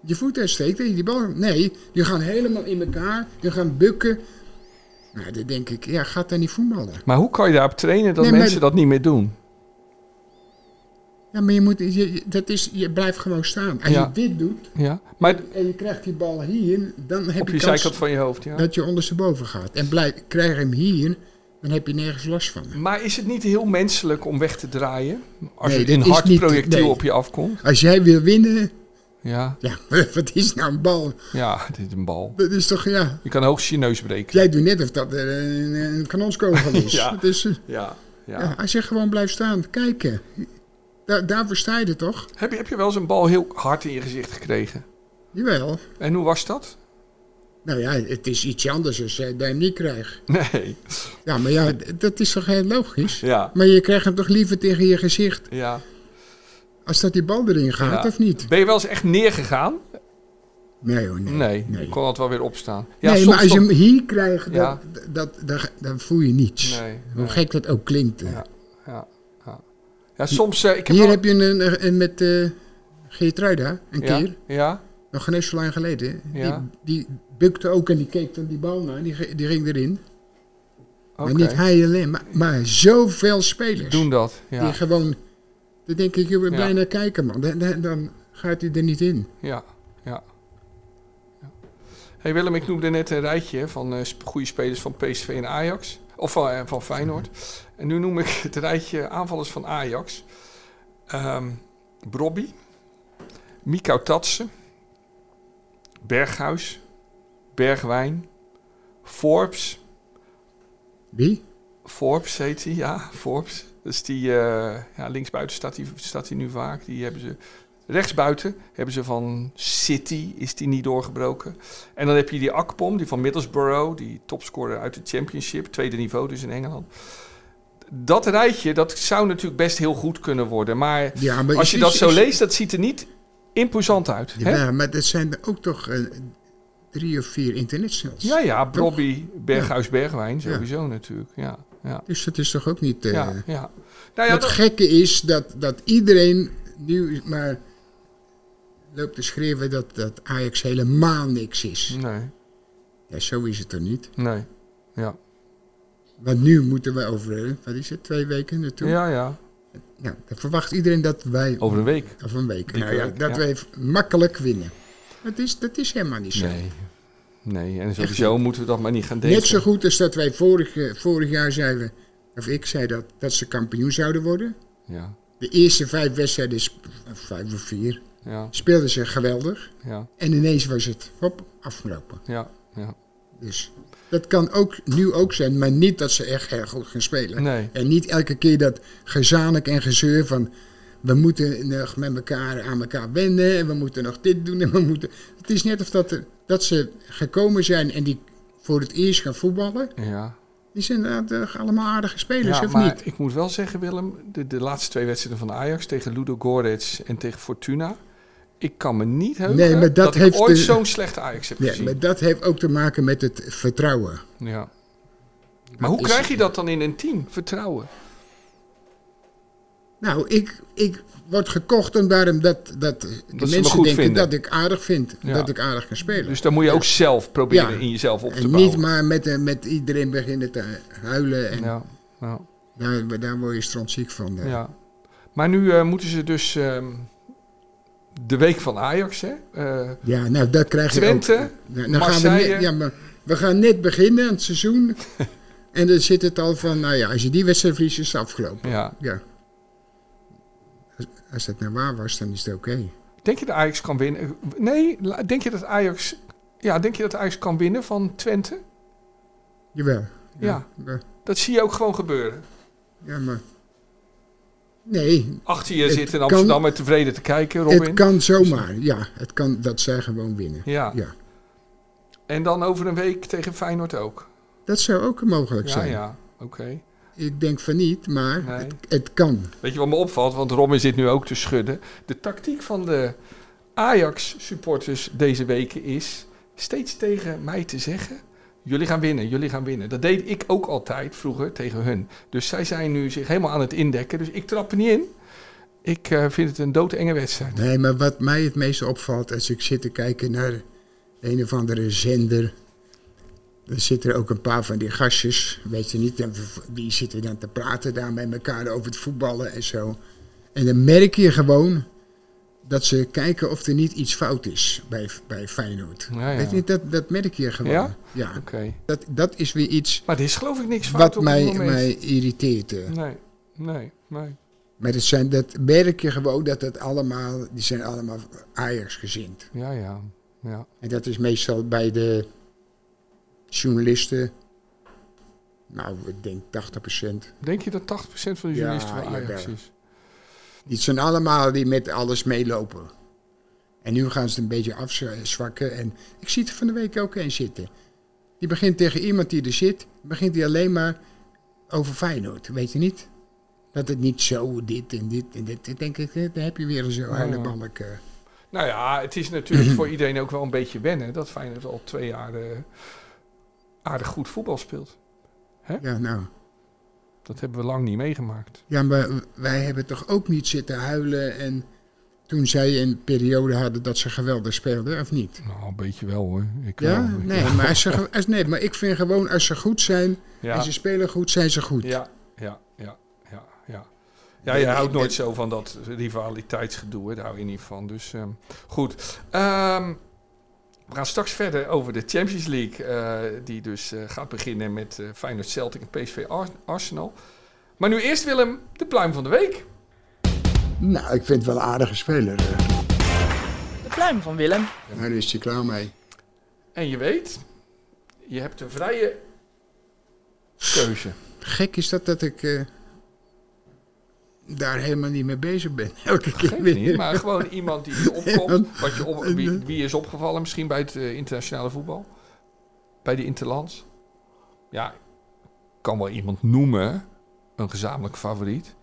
[SPEAKER 2] je voet uitsteekt dat je die bal... Nee, die gaan helemaal in elkaar, die gaan bukken. Nou, dan denk ik, ja, gaat daar niet voetballen.
[SPEAKER 3] Maar hoe kan je daarop trainen dat
[SPEAKER 2] Nee, maar-
[SPEAKER 3] mensen dat niet meer doen?
[SPEAKER 2] Ja, maar je, moet, je- je, dat is, je blijft gewoon staan. Als
[SPEAKER 3] Ja.
[SPEAKER 2] je dit doet
[SPEAKER 3] Ja, maar
[SPEAKER 2] en je krijgt die bal hier, dan heb
[SPEAKER 3] op
[SPEAKER 2] je,
[SPEAKER 3] je
[SPEAKER 2] kans
[SPEAKER 3] zijkant van je hoofd, ja.
[SPEAKER 2] dat je ondersteboven gaat. En blijf, krijg je hem hier, dan heb je nergens last van.
[SPEAKER 3] Maar is het niet heel menselijk om weg te draaien? Als
[SPEAKER 2] Nee,
[SPEAKER 3] er een
[SPEAKER 2] dat is
[SPEAKER 3] hard
[SPEAKER 2] niet-
[SPEAKER 3] projectiel
[SPEAKER 2] nee.
[SPEAKER 3] op je afkomt?
[SPEAKER 2] Als jij wil winnen,
[SPEAKER 3] Ja,
[SPEAKER 2] ja, wat is nou een bal?
[SPEAKER 3] ja, dit is een bal.
[SPEAKER 2] Dat is toch, ja,
[SPEAKER 3] Je kan hoogst je neus breken.
[SPEAKER 2] Jij doet net of dat er een, een kanonskogel is.
[SPEAKER 3] Ja.
[SPEAKER 2] Het is, eh,
[SPEAKER 3] Ja, ja.
[SPEAKER 2] ja, als je gewoon blijft staan, kijken. Da daarvoor sta je er toch?
[SPEAKER 3] Heb, je, heb je wel eens een bal heel hard in je gezicht gekregen?
[SPEAKER 2] Jawel.
[SPEAKER 3] En hoe was dat?
[SPEAKER 2] Nou ja, het is iets anders als je hem niet krijgt.
[SPEAKER 3] Nee.
[SPEAKER 2] Ja, maar ja, d- dat is toch heel logisch?
[SPEAKER 3] Ja,
[SPEAKER 2] Maar je krijgt hem toch liever tegen je gezicht
[SPEAKER 3] ja.
[SPEAKER 2] als dat die bal erin gaat,
[SPEAKER 3] Ja.
[SPEAKER 2] of niet?
[SPEAKER 3] Ben je wel eens echt neergegaan?
[SPEAKER 2] Nee hoor, nee.
[SPEAKER 3] Nee,
[SPEAKER 2] nee.
[SPEAKER 3] je kon altijd wel weer opstaan. Ja,
[SPEAKER 2] Nee,
[SPEAKER 3] soms
[SPEAKER 2] maar als je
[SPEAKER 3] toch-
[SPEAKER 2] hem hier krijgt,
[SPEAKER 3] Ja.
[SPEAKER 2] dat, dat, dat, dan voel je niets.
[SPEAKER 3] Nee,
[SPEAKER 2] Hoe
[SPEAKER 3] nee.
[SPEAKER 2] gek dat ook klinkt. hè.
[SPEAKER 3] Ja, ja, ja. ja soms... eh, ik heb
[SPEAKER 2] Hier
[SPEAKER 3] wel-
[SPEAKER 2] heb je een, een, een met eh Geertruida, een
[SPEAKER 3] ja,
[SPEAKER 2] keer.
[SPEAKER 3] Ja,
[SPEAKER 2] Nog net zo lang geleden.
[SPEAKER 3] Ja.
[SPEAKER 2] Die, die bukte ook en die keek dan die bal naar. Die, ge- die ging erin.
[SPEAKER 3] oké.
[SPEAKER 2] Maar niet hij alleen, maar, maar zoveel spelers.
[SPEAKER 3] Doen dat,
[SPEAKER 2] Die
[SPEAKER 3] ja.
[SPEAKER 2] gewoon... Dan denk ik, joh,
[SPEAKER 3] Ja.
[SPEAKER 2] blij naar kijken man. Dan, dan, dan gaat hij er niet in.
[SPEAKER 3] Ja, ja. Ja. Hey Willem, ik noemde net een rijtje hè, van eh, sp- goede spelers van PSV en Ajax. Of van, eh, van Feyenoord. En nu noem ik het rijtje aanvallers van Ajax. Ehm Brobby. Mikau Tatsen. Berghuis. Bergwijn. Forbes.
[SPEAKER 2] Wie?
[SPEAKER 3] Forbes heet hij, ja, Forbes. Dat is die, eh, ja, linksbuiten staat hij staat die nu vaak. Die hebben ze, rechtsbuiten hebben ze van City, is die niet doorgebroken. En dan heb je die Akpom, die van Middlesbrough, die topscorer uit de Championship, tweede niveau dus in Engeland. Dat rijtje, dat zou natuurlijk best heel goed kunnen worden. Maar
[SPEAKER 2] Ja, maar
[SPEAKER 3] als
[SPEAKER 2] is-
[SPEAKER 3] je dat
[SPEAKER 2] is-
[SPEAKER 3] zo
[SPEAKER 2] is-
[SPEAKER 3] leest, dat ziet er niet imposant uit. hè?
[SPEAKER 2] Ja, maar dat zijn er ook toch eh, drie of vier internationals.
[SPEAKER 3] Ja, ja, Brobby, Berghuis, Bergwijn,
[SPEAKER 2] Ja.
[SPEAKER 3] sowieso natuurlijk. Ja, ja,
[SPEAKER 2] Dus dat is toch ook niet... eh,
[SPEAKER 3] ja, ja. Nou ja,
[SPEAKER 2] Het
[SPEAKER 3] dat-
[SPEAKER 2] gekke is dat, dat iedereen nu maar loopt te schreeuwen dat, dat Ajax helemaal niks is.
[SPEAKER 3] Nee,
[SPEAKER 2] Ja, zo is het er niet.
[SPEAKER 3] nee, ja.
[SPEAKER 2] Want nu moeten wij over, eh, wat is het, twee weken naartoe?
[SPEAKER 3] Ja, ja.
[SPEAKER 2] Nou, dan verwacht iedereen dat wij,
[SPEAKER 3] Over een week.
[SPEAKER 2] of een week,
[SPEAKER 3] Dikke
[SPEAKER 2] nou ja,
[SPEAKER 3] week,
[SPEAKER 2] dat
[SPEAKER 3] ja.
[SPEAKER 2] wij makkelijk winnen. Dat is, dat is helemaal niet zo.
[SPEAKER 3] Nee. Nee, en sowieso moeten we dat maar niet gaan denken.
[SPEAKER 2] Net zo goed als dat wij vorig, vorig jaar zeiden, of ik zei dat, dat ze kampioen zouden worden.
[SPEAKER 3] Ja,
[SPEAKER 2] De eerste vijf wedstrijden, sp- vijf of vier,
[SPEAKER 3] ja,
[SPEAKER 2] speelden ze geweldig.
[SPEAKER 3] ja,
[SPEAKER 2] En ineens was het, hop, afgelopen.
[SPEAKER 3] ja, ja.
[SPEAKER 2] Dus dat kan ook nu ook zijn, maar niet dat ze echt heel goed gaan spelen.
[SPEAKER 3] Nee.
[SPEAKER 2] En niet elke keer dat gezanik en gezeur van we moeten nog met elkaar aan elkaar wennen en we moeten nog dit doen en we moeten. Het is net of dat, er- dat ze gekomen zijn en die voor het eerst gaan voetballen.
[SPEAKER 3] ja.
[SPEAKER 2] Die zijn inderdaad eh, allemaal aardige spelers,
[SPEAKER 3] ja
[SPEAKER 2] of
[SPEAKER 3] maar
[SPEAKER 2] niet?
[SPEAKER 3] ik moet wel zeggen, Willem, de, de laatste twee wedstrijden van Ajax tegen Ludo Gorets en tegen Fortuna. Ik kan me niet heugen
[SPEAKER 2] Nee, maar dat
[SPEAKER 3] dat, ik
[SPEAKER 2] heeft dus-
[SPEAKER 3] ooit
[SPEAKER 2] de-
[SPEAKER 3] zo'n slechte Ajax heb
[SPEAKER 2] Ja,
[SPEAKER 3] gezien.
[SPEAKER 2] maar dat heeft ook te maken met het vertrouwen.
[SPEAKER 3] Ja. Maar hoe
[SPEAKER 2] is-
[SPEAKER 3] krijg je dat dan in een team? Vertrouwen.
[SPEAKER 2] Nou, ik, ik word gekocht en daarom dat, dat de
[SPEAKER 3] me
[SPEAKER 2] mensen
[SPEAKER 3] goed
[SPEAKER 2] denken
[SPEAKER 3] vinden.
[SPEAKER 2] dat ik aardig vind.
[SPEAKER 3] Ja.
[SPEAKER 2] Dat ik aardig kan spelen.
[SPEAKER 3] Dus dan moet je ook zelf proberen
[SPEAKER 2] Ja.
[SPEAKER 3] in jezelf op te
[SPEAKER 2] En
[SPEAKER 3] bouwen.
[SPEAKER 2] niet maar met, eh, met iedereen beginnen te huilen. En
[SPEAKER 3] ja, ja,
[SPEAKER 2] daar, daar word je strontziek van. eh.
[SPEAKER 3] ja. Maar nu eh, moeten ze dus ehm, de week van Ajax, hè? Eh,
[SPEAKER 2] Ja, nou, dat krijg je ook.
[SPEAKER 3] Twente,
[SPEAKER 2] Nou, dan gaan we,
[SPEAKER 3] Marseille.
[SPEAKER 2] net, ja, maar we gaan net beginnen aan het seizoen. en dan zit het al van, nou ja, als je die wedstrijd verliest, is het afgelopen.
[SPEAKER 3] ja.
[SPEAKER 2] Ja. Als, als dat nou waar was, dan is het oké.
[SPEAKER 3] Denk je dat Ajax kan winnen? Nee, la- denk je dat Ajax, ja, denk je dat Ajax kan winnen van Twente?
[SPEAKER 2] Jawel.
[SPEAKER 3] Ja.
[SPEAKER 2] Ja,
[SPEAKER 3] Dat zie je ook gewoon gebeuren.
[SPEAKER 2] ja, maar... Nee,
[SPEAKER 3] Achter je
[SPEAKER 2] Het
[SPEAKER 3] zit in
[SPEAKER 2] kan-
[SPEAKER 3] Amsterdam met tevreden te kijken,
[SPEAKER 2] het
[SPEAKER 3] Robin.
[SPEAKER 2] kan zomaar. Ja, het kan dat zij gewoon winnen.
[SPEAKER 3] Ja.
[SPEAKER 2] Ja.
[SPEAKER 3] En dan over een week tegen Feyenoord ook.
[SPEAKER 2] Dat zou ook mogelijk
[SPEAKER 3] Ja,
[SPEAKER 2] zijn.
[SPEAKER 3] ja, oké.
[SPEAKER 2] Ik denk van niet, maar
[SPEAKER 3] Nee.
[SPEAKER 2] het, het kan.
[SPEAKER 3] Weet je wat me opvalt? Want Robin zit nu ook te schudden. De tactiek van de Ajax-supporters deze weken is steeds tegen mij te zeggen... Jullie gaan winnen, jullie gaan winnen. Dat deed ik ook altijd vroeger tegen hun. Dus zij zijn nu zich helemaal aan het indekken. Dus ik trap er niet in. Ik eh, vind het een doodenge wedstrijd.
[SPEAKER 2] Nee, maar wat mij het meest opvalt als ik zit te kijken naar een of andere zender. Dan zitten er ook een paar van die gastjes, weet je niet, en die zitten dan te praten daar met elkaar over het voetballen en zo. En dan merk je gewoon dat ze kijken of er niet iets fout is bij, bij Feyenoord.
[SPEAKER 3] Ja, ja.
[SPEAKER 2] Weet je niet, dat, dat merk je gewoon.
[SPEAKER 3] Ja?
[SPEAKER 2] ja.
[SPEAKER 3] Oké.
[SPEAKER 2] Dat, dat is weer iets
[SPEAKER 3] Maar er is geloof ik niks fout
[SPEAKER 2] wat
[SPEAKER 3] op
[SPEAKER 2] mij,
[SPEAKER 3] dit moment.
[SPEAKER 2] mij irriteert. eh.
[SPEAKER 3] Nee, nee, nee.
[SPEAKER 2] Maar dat, zijn, dat merk je gewoon dat het allemaal, die zijn allemaal Ajax gezind.
[SPEAKER 3] Ja, ja, ja.
[SPEAKER 2] En dat is meestal bij de journalisten. Nou, ik denk 80%.
[SPEAKER 3] Denk je dat 80% van
[SPEAKER 2] Ja,
[SPEAKER 3] de journalisten van
[SPEAKER 2] jawel.
[SPEAKER 3] Ajax is?
[SPEAKER 2] Die zijn allemaal die met alles meelopen. En nu gaan ze het een beetje afzwakken. En ik zie het er van de week ook een zitten. Die begint tegen iemand die er zit, begint hij alleen maar over Feyenoord. Weet je niet? Dat het niet zo, dit en dit en dit. Ik denk, eh, dan heb je weer zo'n huilenbalk. eh.
[SPEAKER 3] Nou ja, het is natuurlijk voor iedereen ook wel een beetje wennen dat Feyenoord al twee jaar eh, aardig goed voetbal speelt.
[SPEAKER 2] Ja, nou.
[SPEAKER 3] Dat hebben we lang niet meegemaakt.
[SPEAKER 2] Ja, maar wij hebben toch ook niet zitten huilen en toen zij een periode hadden dat ze geweldig speelden, of niet?
[SPEAKER 3] Nou, een beetje wel hoor. Ik eh,
[SPEAKER 2] Ja?
[SPEAKER 3] wel.
[SPEAKER 2] Nee, maar, als ze, ge- als, nee, maar ik vind gewoon als ze goed zijn en
[SPEAKER 3] Ja,
[SPEAKER 2] ze spelen goed, zijn ze goed.
[SPEAKER 3] ja, ja, ja, ja, ja. Ja, je
[SPEAKER 2] En-
[SPEAKER 3] houdt nooit
[SPEAKER 2] en-
[SPEAKER 3] zo van dat rivaliteitsgedoe, hè. daar hou je niet van. Dus ehm, goed. Ehm, we gaan straks verder over de Champions League, eh, die dus eh, gaat beginnen met eh, Feyenoord Celtic en PSV Ars- Arsenal. Maar nu eerst Willem, de pluim van de week.
[SPEAKER 2] Nou, ik vind het wel een aardige speler. eh.
[SPEAKER 4] De pluim van Willem.
[SPEAKER 2] Nou, daar is hij klaar mee.
[SPEAKER 3] En je weet, je hebt een vrije keuze.
[SPEAKER 2] Gek is dat dat ik eh, daar helemaal niet mee bezig ben. Elke keer
[SPEAKER 3] Geeft
[SPEAKER 2] weer.
[SPEAKER 3] niet, maar gewoon iemand die je opkomt. Wat je op, wie,
[SPEAKER 2] eh,
[SPEAKER 3] wie is opgevallen misschien bij het eh, internationale voetbal? Bij de Interlands? Ja, ik kan wel iemand noemen. Een gezamenlijk favoriet.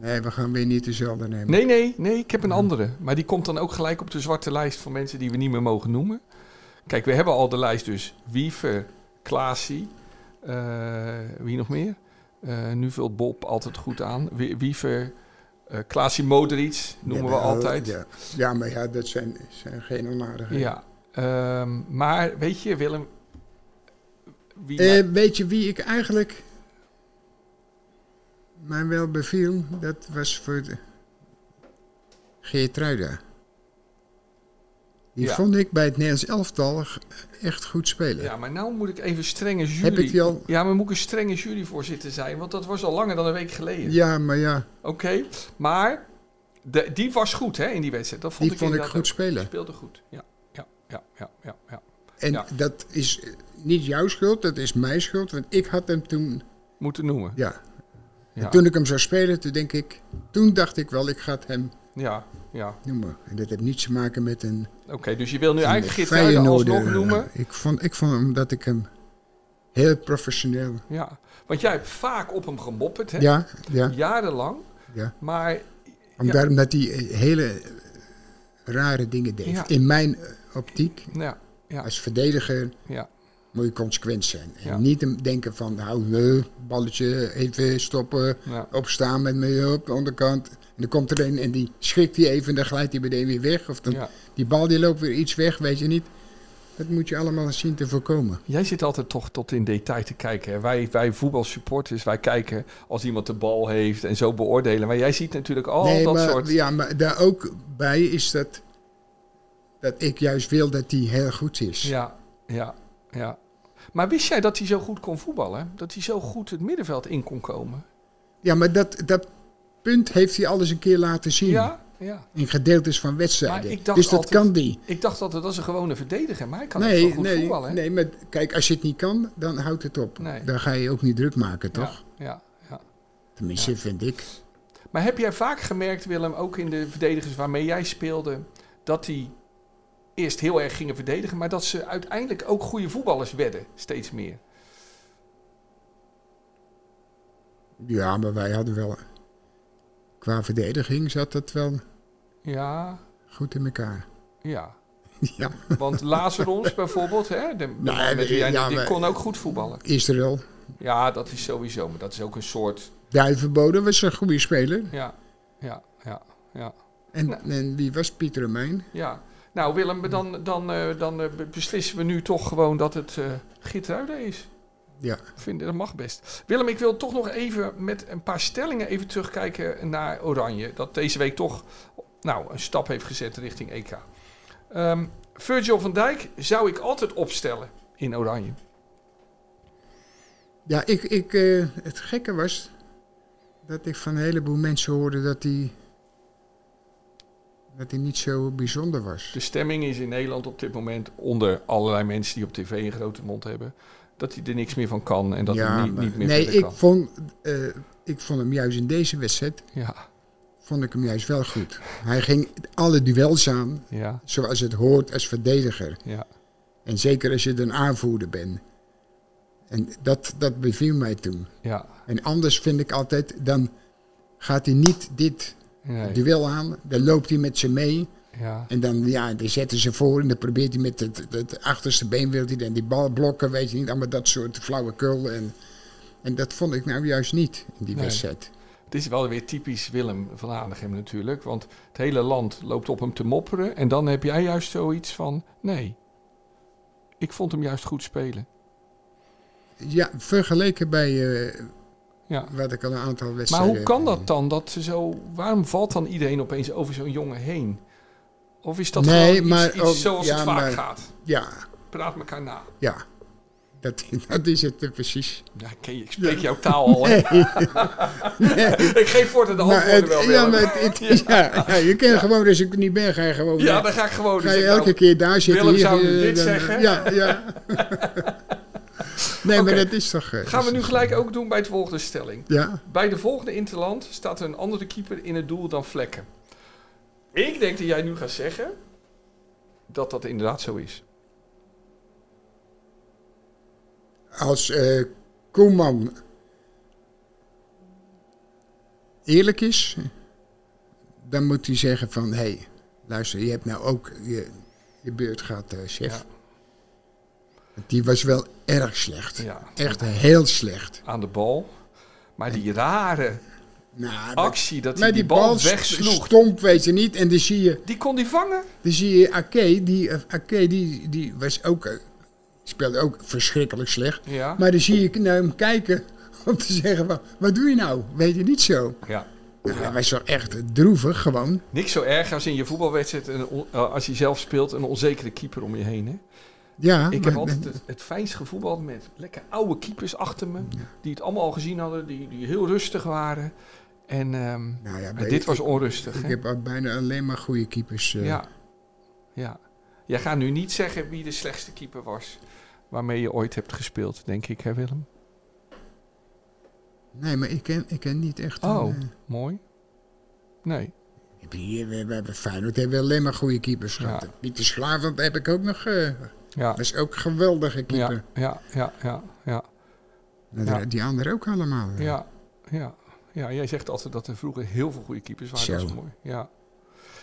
[SPEAKER 2] Nee, we gaan weer niet dezelfde nemen.
[SPEAKER 3] Nee, nee, nee, ik heb een andere. Maar die komt dan ook gelijk op de zwarte lijst van mensen die we niet meer mogen noemen. Kijk, we hebben al de lijst dus. Wiever, Klaasie, eh, wie nog meer? Eh, nu vult Bob altijd goed aan. Wie- Wiever, eh Klaasie Modric noemen
[SPEAKER 2] Ja,
[SPEAKER 3] we
[SPEAKER 2] maar,
[SPEAKER 3] altijd.
[SPEAKER 2] Ja, ja maar ja, dat zijn, zijn geen onaardige.
[SPEAKER 3] Ja, ehm, maar weet je, Willem. Wie
[SPEAKER 2] Eh, weet je wie ik eigenlijk mij wel beviel? Dat was voor de- Geertruida. Die
[SPEAKER 3] Ja.
[SPEAKER 2] vond ik bij het Nederlands elftal g- echt goed spelen.
[SPEAKER 3] Ja, maar nou moet ik even strenge jury...
[SPEAKER 2] Heb ik die al?
[SPEAKER 3] Ja, maar moet ik een strenge juryvoorzitter zijn? Want dat was al langer dan een week geleden.
[SPEAKER 2] Ja, maar ja,
[SPEAKER 3] Oké, maar de, die was goed hè, in die wedstrijd. Dat vond
[SPEAKER 2] die
[SPEAKER 3] ik
[SPEAKER 2] vond ik
[SPEAKER 3] inderdaad
[SPEAKER 2] goed
[SPEAKER 3] ook. Die
[SPEAKER 2] spelen.
[SPEAKER 3] speelde goed, ja. Ja, ja, ja, ja, ja.
[SPEAKER 2] En
[SPEAKER 3] Ja.
[SPEAKER 2] dat is eh, niet jouw schuld, dat is mijn schuld. Want ik had hem toen,
[SPEAKER 3] Moeten noemen.
[SPEAKER 2] ja.
[SPEAKER 3] Ja,
[SPEAKER 2] En toen ik hem zou spelen, toen denk ik, toen dacht ik wel, ik ga het hem
[SPEAKER 3] ja, ja.
[SPEAKER 2] noemen. En dat heeft niets te maken met een
[SPEAKER 3] Oké, dus je wil nu eigenlijk
[SPEAKER 2] een
[SPEAKER 3] Geertruiden
[SPEAKER 2] Feyenoorder.
[SPEAKER 3] alsnog noemen.
[SPEAKER 2] eh, Ik vond, ik vond hem dat ik hem heel professioneel...
[SPEAKER 3] Ja, want jij hebt vaak op hem gemopperd, hè?
[SPEAKER 2] Ja, ja,
[SPEAKER 3] Jarenlang.
[SPEAKER 2] ja.
[SPEAKER 3] Maar
[SPEAKER 2] Om
[SPEAKER 3] Ja.
[SPEAKER 2] Daarom dat hij eh, hele rare dingen deed.
[SPEAKER 3] Ja.
[SPEAKER 2] In mijn eh, optiek,
[SPEAKER 3] nou ja, ja,
[SPEAKER 2] als verdediger,
[SPEAKER 3] ja,
[SPEAKER 2] moet je consequent zijn. En
[SPEAKER 3] Ja.
[SPEAKER 2] niet hem denken van, hou nee, balletje, even stoppen,
[SPEAKER 3] ja,
[SPEAKER 2] opstaan met me op de onderkant. En dan komt er een en die schrikt hij even en dan glijdt hij meteen weer weg. Of dan,
[SPEAKER 3] ja.
[SPEAKER 2] die bal die loopt weer iets weg, weet je niet. Dat moet je allemaal zien te voorkomen.
[SPEAKER 3] Jij zit altijd toch tot in detail te kijken. Hè? Wij, wij voetbalsupporters, wij kijken als iemand de bal heeft en zo beoordelen. Maar jij ziet natuurlijk al dat
[SPEAKER 2] maar,
[SPEAKER 3] soort...
[SPEAKER 2] Ja, maar daar ook bij is dat, dat ik juist wil dat die heel goed is.
[SPEAKER 3] Ja, ja, ja. Maar wist jij dat hij zo goed kon voetballen? hè? Dat hij zo goed het middenveld in kon komen?
[SPEAKER 2] Ja, maar dat, dat punt heeft hij alles een keer laten zien.
[SPEAKER 3] Ja, ja.
[SPEAKER 2] In gedeeltes van wedstrijden.
[SPEAKER 3] Maar ik dacht
[SPEAKER 2] dus dat
[SPEAKER 3] altijd-
[SPEAKER 2] kan die.
[SPEAKER 3] Ik dacht altijd, dat is een gewone verdediger. Maar hij kan echt wel
[SPEAKER 2] Nee,
[SPEAKER 3] goed
[SPEAKER 2] nee,
[SPEAKER 3] voetballen. hè?
[SPEAKER 2] nee, maar kijk, als je het niet kan, dan houdt het op.
[SPEAKER 3] Nee.
[SPEAKER 2] Dan ga je je ook niet druk maken, toch?
[SPEAKER 3] Ja, ja, ja.
[SPEAKER 2] Tenminste, vind ik.
[SPEAKER 3] Maar heb jij vaak gemerkt, Willem, ook in de verdedigers waarmee jij speelde, dat die eerst heel erg gingen verdedigen, maar dat ze uiteindelijk ook goede voetballers werden, steeds meer?
[SPEAKER 2] Ja, maar wij hadden wel... Qua verdediging zat dat wel
[SPEAKER 3] Ja,
[SPEAKER 2] goed in elkaar.
[SPEAKER 3] ja.
[SPEAKER 2] Ja,
[SPEAKER 3] Want Lazarons bijvoorbeeld, hè, de, de
[SPEAKER 2] Nou,
[SPEAKER 3] man met wie jij-
[SPEAKER 2] ja,
[SPEAKER 3] die
[SPEAKER 2] maar-
[SPEAKER 3] kon ook goed voetballen.
[SPEAKER 2] Israël.
[SPEAKER 3] Ja, dat is sowieso, maar dat is ook een soort,
[SPEAKER 2] Duivenbode was een goede speler.
[SPEAKER 3] ja, ja, ja, ja.
[SPEAKER 2] En,
[SPEAKER 3] Nou.
[SPEAKER 2] en wie was Pieter Romein?
[SPEAKER 3] ja. Nou Willem, dan, dan, eh, dan eh, be- beslissen we nu toch gewoon dat het eh Gitruiden is.
[SPEAKER 2] Ja.
[SPEAKER 3] Vind, dat mag best. Willem, ik wil toch nog even met een paar stellingen even terugkijken naar Oranje. Dat deze week toch nou, een stap heeft gezet richting EK. Ehm, Virgil van Dijk zou ik altijd opstellen in Oranje.
[SPEAKER 2] Ja, ik, ik, eh, het gekke was dat ik van een heleboel mensen hoorde dat hij dat hij niet zo bijzonder was.
[SPEAKER 3] De stemming is in Nederland op dit moment onder allerlei mensen die op tv een grote mond hebben. Dat hij er niks meer van kan en dat hij niet,
[SPEAKER 2] maar-
[SPEAKER 3] niet meer
[SPEAKER 2] nee,
[SPEAKER 3] verder
[SPEAKER 2] ik
[SPEAKER 3] kan.
[SPEAKER 2] vond, eh, ik vond hem juist in deze wedstrijd
[SPEAKER 3] Ja,
[SPEAKER 2] vond ik hem juist wel goed. Hij ging alle duels aan,
[SPEAKER 3] ja,
[SPEAKER 2] zoals het hoort als verdediger.
[SPEAKER 3] ja.
[SPEAKER 2] En zeker als je een aanvoerder bent. En dat, dat beviel mij toen.
[SPEAKER 3] ja
[SPEAKER 2] En anders vind ik altijd, dan gaat hij niet dit
[SPEAKER 3] nee,
[SPEAKER 2] duel aan. Dan loopt hij met ze mee.
[SPEAKER 3] ja.
[SPEAKER 2] En dan, ja, die zetten ze voor en dan probeert hij met het, het achterste been, wil hij dan die bal blokken, weet je niet, allemaal dat soort flauwekul. En, en dat vond ik nou juist niet in die
[SPEAKER 3] Nee.
[SPEAKER 2] wedstrijd.
[SPEAKER 3] Het is wel weer typisch Willem van Hanegem natuurlijk. Want het hele land loopt op hem te mopperen. En dan heb jij juist zoiets van... Nee, ik vond hem juist goed spelen.
[SPEAKER 2] Ja, vergeleken bij eh,
[SPEAKER 3] Ja.
[SPEAKER 2] wat ik al een aantal
[SPEAKER 3] Maar
[SPEAKER 2] wedstrijden...
[SPEAKER 3] hoe kan dat dan? dat ze zo, waarom valt dan iedereen opeens over zo'n jongen heen? Of is dat
[SPEAKER 2] Nee,
[SPEAKER 3] gewoon iets,
[SPEAKER 2] maar
[SPEAKER 3] iets
[SPEAKER 2] ook-
[SPEAKER 3] zoals
[SPEAKER 2] ja,
[SPEAKER 3] het vaak
[SPEAKER 2] maar-
[SPEAKER 3] gaat?
[SPEAKER 2] Ja,
[SPEAKER 3] Praat elkaar na.
[SPEAKER 2] ja. Dat, dat is het eh, precies.
[SPEAKER 3] Ja, ik, ken je, ik spreek jouw taal al. hè. ik geef voortaan de
[SPEAKER 2] Maar Nou, het-
[SPEAKER 3] antwoorden wel,
[SPEAKER 2] ja,
[SPEAKER 3] Willem.
[SPEAKER 2] maar het, het- ja, ja, je kan gewoon, als ik er niet ben, ga je gewoon... eh,
[SPEAKER 3] Ja, dan ga ik gewoon.
[SPEAKER 2] Ga
[SPEAKER 3] dus
[SPEAKER 2] je
[SPEAKER 3] ik
[SPEAKER 2] elke
[SPEAKER 3] nou-
[SPEAKER 2] keer daar zitten.
[SPEAKER 3] Willem zou nu
[SPEAKER 2] eh,
[SPEAKER 3] dit
[SPEAKER 2] dan-
[SPEAKER 3] zeggen.
[SPEAKER 2] Ja, ja. nee,
[SPEAKER 3] Oké.
[SPEAKER 2] maar dat is toch... eh,
[SPEAKER 3] Gaan we
[SPEAKER 2] dat
[SPEAKER 3] nu
[SPEAKER 2] is-
[SPEAKER 3] gelijk ook doen bij het volgende stelling.
[SPEAKER 2] Ja,
[SPEAKER 3] Bij de volgende Interland staat er een andere keeper in het doel dan Vlekken. Ik denk dat jij nu gaat zeggen dat dat inderdaad zo is.
[SPEAKER 2] als eh Koeman eerlijk is, dan moet hij zeggen van... Hé, hey, luister, je hebt nou ook je, je beurt gehad, eh, chef.
[SPEAKER 3] Ja.
[SPEAKER 2] Want Die was wel erg slecht.
[SPEAKER 3] Ja.
[SPEAKER 2] Echt heel slecht.
[SPEAKER 3] Aan de bal. Maar die rare
[SPEAKER 2] Nou, dat-
[SPEAKER 3] actie dat hij
[SPEAKER 2] maar
[SPEAKER 3] die, bal,
[SPEAKER 2] st-
[SPEAKER 3] wegsloeg,
[SPEAKER 2] stomp, weet je niet. En dan zie je...
[SPEAKER 3] die kon die vangen.
[SPEAKER 2] Dan zie je Ake, die, eh, Ake, die, die was ook, eh, speelde ook verschrikkelijk slecht.
[SPEAKER 3] Ja.
[SPEAKER 2] Maar dan zie ik naar hem kijken om te zeggen, van, wat doe je nou? Weet je niet zo.
[SPEAKER 3] Ja.
[SPEAKER 2] Nou, Hij was wel echt droevig gewoon.
[SPEAKER 3] Niks zo erg als in je voetbalwedstrijd, een on- eh, als je zelf speelt, een onzekere keeper om je heen. Hè?
[SPEAKER 2] Ja,
[SPEAKER 3] Ik
[SPEAKER 2] maar-
[SPEAKER 3] heb altijd het, het fijnst gevoetbald met lekker oude keepers achter me. Die het allemaal al gezien hadden, die, die heel rustig waren. En ehm,
[SPEAKER 2] Nou ja,
[SPEAKER 3] maar
[SPEAKER 2] weet
[SPEAKER 3] dit
[SPEAKER 2] ik-
[SPEAKER 3] was onrustig.
[SPEAKER 2] Ik
[SPEAKER 3] hè?
[SPEAKER 2] heb al bijna alleen maar goede keepers. eh,
[SPEAKER 3] ja. ja. Jij gaat nu niet zeggen wie de slechtste keeper was waarmee je ooit hebt gespeeld, denk ik, hè Willem?
[SPEAKER 2] Nee, maar ik ken, ik ken niet echt. een,
[SPEAKER 3] Oh,
[SPEAKER 2] eh,
[SPEAKER 3] mooi. Nee.
[SPEAKER 2] ik heb hier, we, we hebben Feyenoord hebben alleen maar goede keepers gehad.
[SPEAKER 3] Ja.
[SPEAKER 2] Pieter Slavend heb ik ook nog. eh
[SPEAKER 3] Ja.
[SPEAKER 2] was ook een geweldige keeper.
[SPEAKER 3] Ja, ja, ja, ja, ja,
[SPEAKER 2] Nou,
[SPEAKER 3] Ja.
[SPEAKER 2] die- Die anderen ook allemaal. eh.
[SPEAKER 3] ja, ja, ja. Jij zegt altijd dat er vroeger heel veel goede keepers waren. Dat
[SPEAKER 2] Zo.
[SPEAKER 3] is mooi. Ja.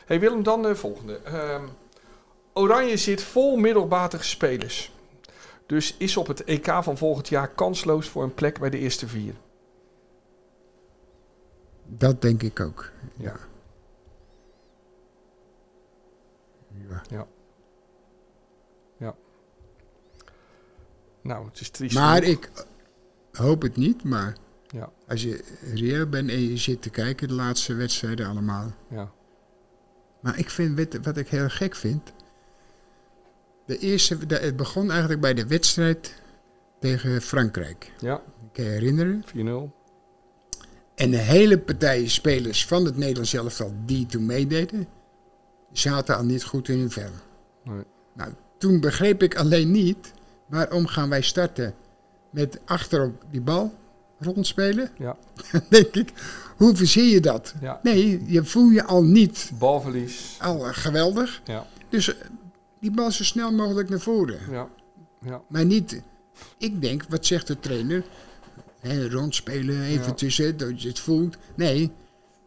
[SPEAKER 3] Hey Willem, dan de volgende. Ehm, Oranje zit vol middelmatige spelers. Dus is op het EK van volgend jaar kansloos voor een plek bij de eerste vier.
[SPEAKER 2] Dat denk ik ook.
[SPEAKER 3] Ja.
[SPEAKER 2] Ja. Ja.
[SPEAKER 3] Nou, het is triest.
[SPEAKER 2] Maar
[SPEAKER 3] genoeg.
[SPEAKER 2] ik hoop het niet, maar
[SPEAKER 3] Ja.
[SPEAKER 2] als je reëel bent en je zit te kijken de laatste wedstrijden allemaal.
[SPEAKER 3] Ja.
[SPEAKER 2] Maar ik vind weet je wat ik heel gek vind. De eerste, de- het begon eigenlijk bij de wedstrijd tegen Frankrijk.
[SPEAKER 3] Ja,
[SPEAKER 2] Kan je herinneren?
[SPEAKER 3] 4-0.
[SPEAKER 2] En de hele partij spelers van het Nederlands elftal die toen meededen, zaten al niet goed in hun vel.
[SPEAKER 3] Nee.
[SPEAKER 2] Nou, toen begreep ik alleen niet waarom gaan wij starten met achterop die bal rondspelen.
[SPEAKER 3] Ja.
[SPEAKER 2] Dan denk ik, hoe verzin je dat?
[SPEAKER 3] Ja.
[SPEAKER 2] Nee, je voel je al niet
[SPEAKER 3] Balverlies.
[SPEAKER 2] al geweldig.
[SPEAKER 3] Ja.
[SPEAKER 2] Dus eh, die bal zo snel mogelijk naar voren.
[SPEAKER 3] Ja. Ja.
[SPEAKER 2] Maar niet, ik denk, wat zegt de trainer? Hè, rondspelen, even
[SPEAKER 3] Ja.
[SPEAKER 2] tussen, dat je het voelt. Nee,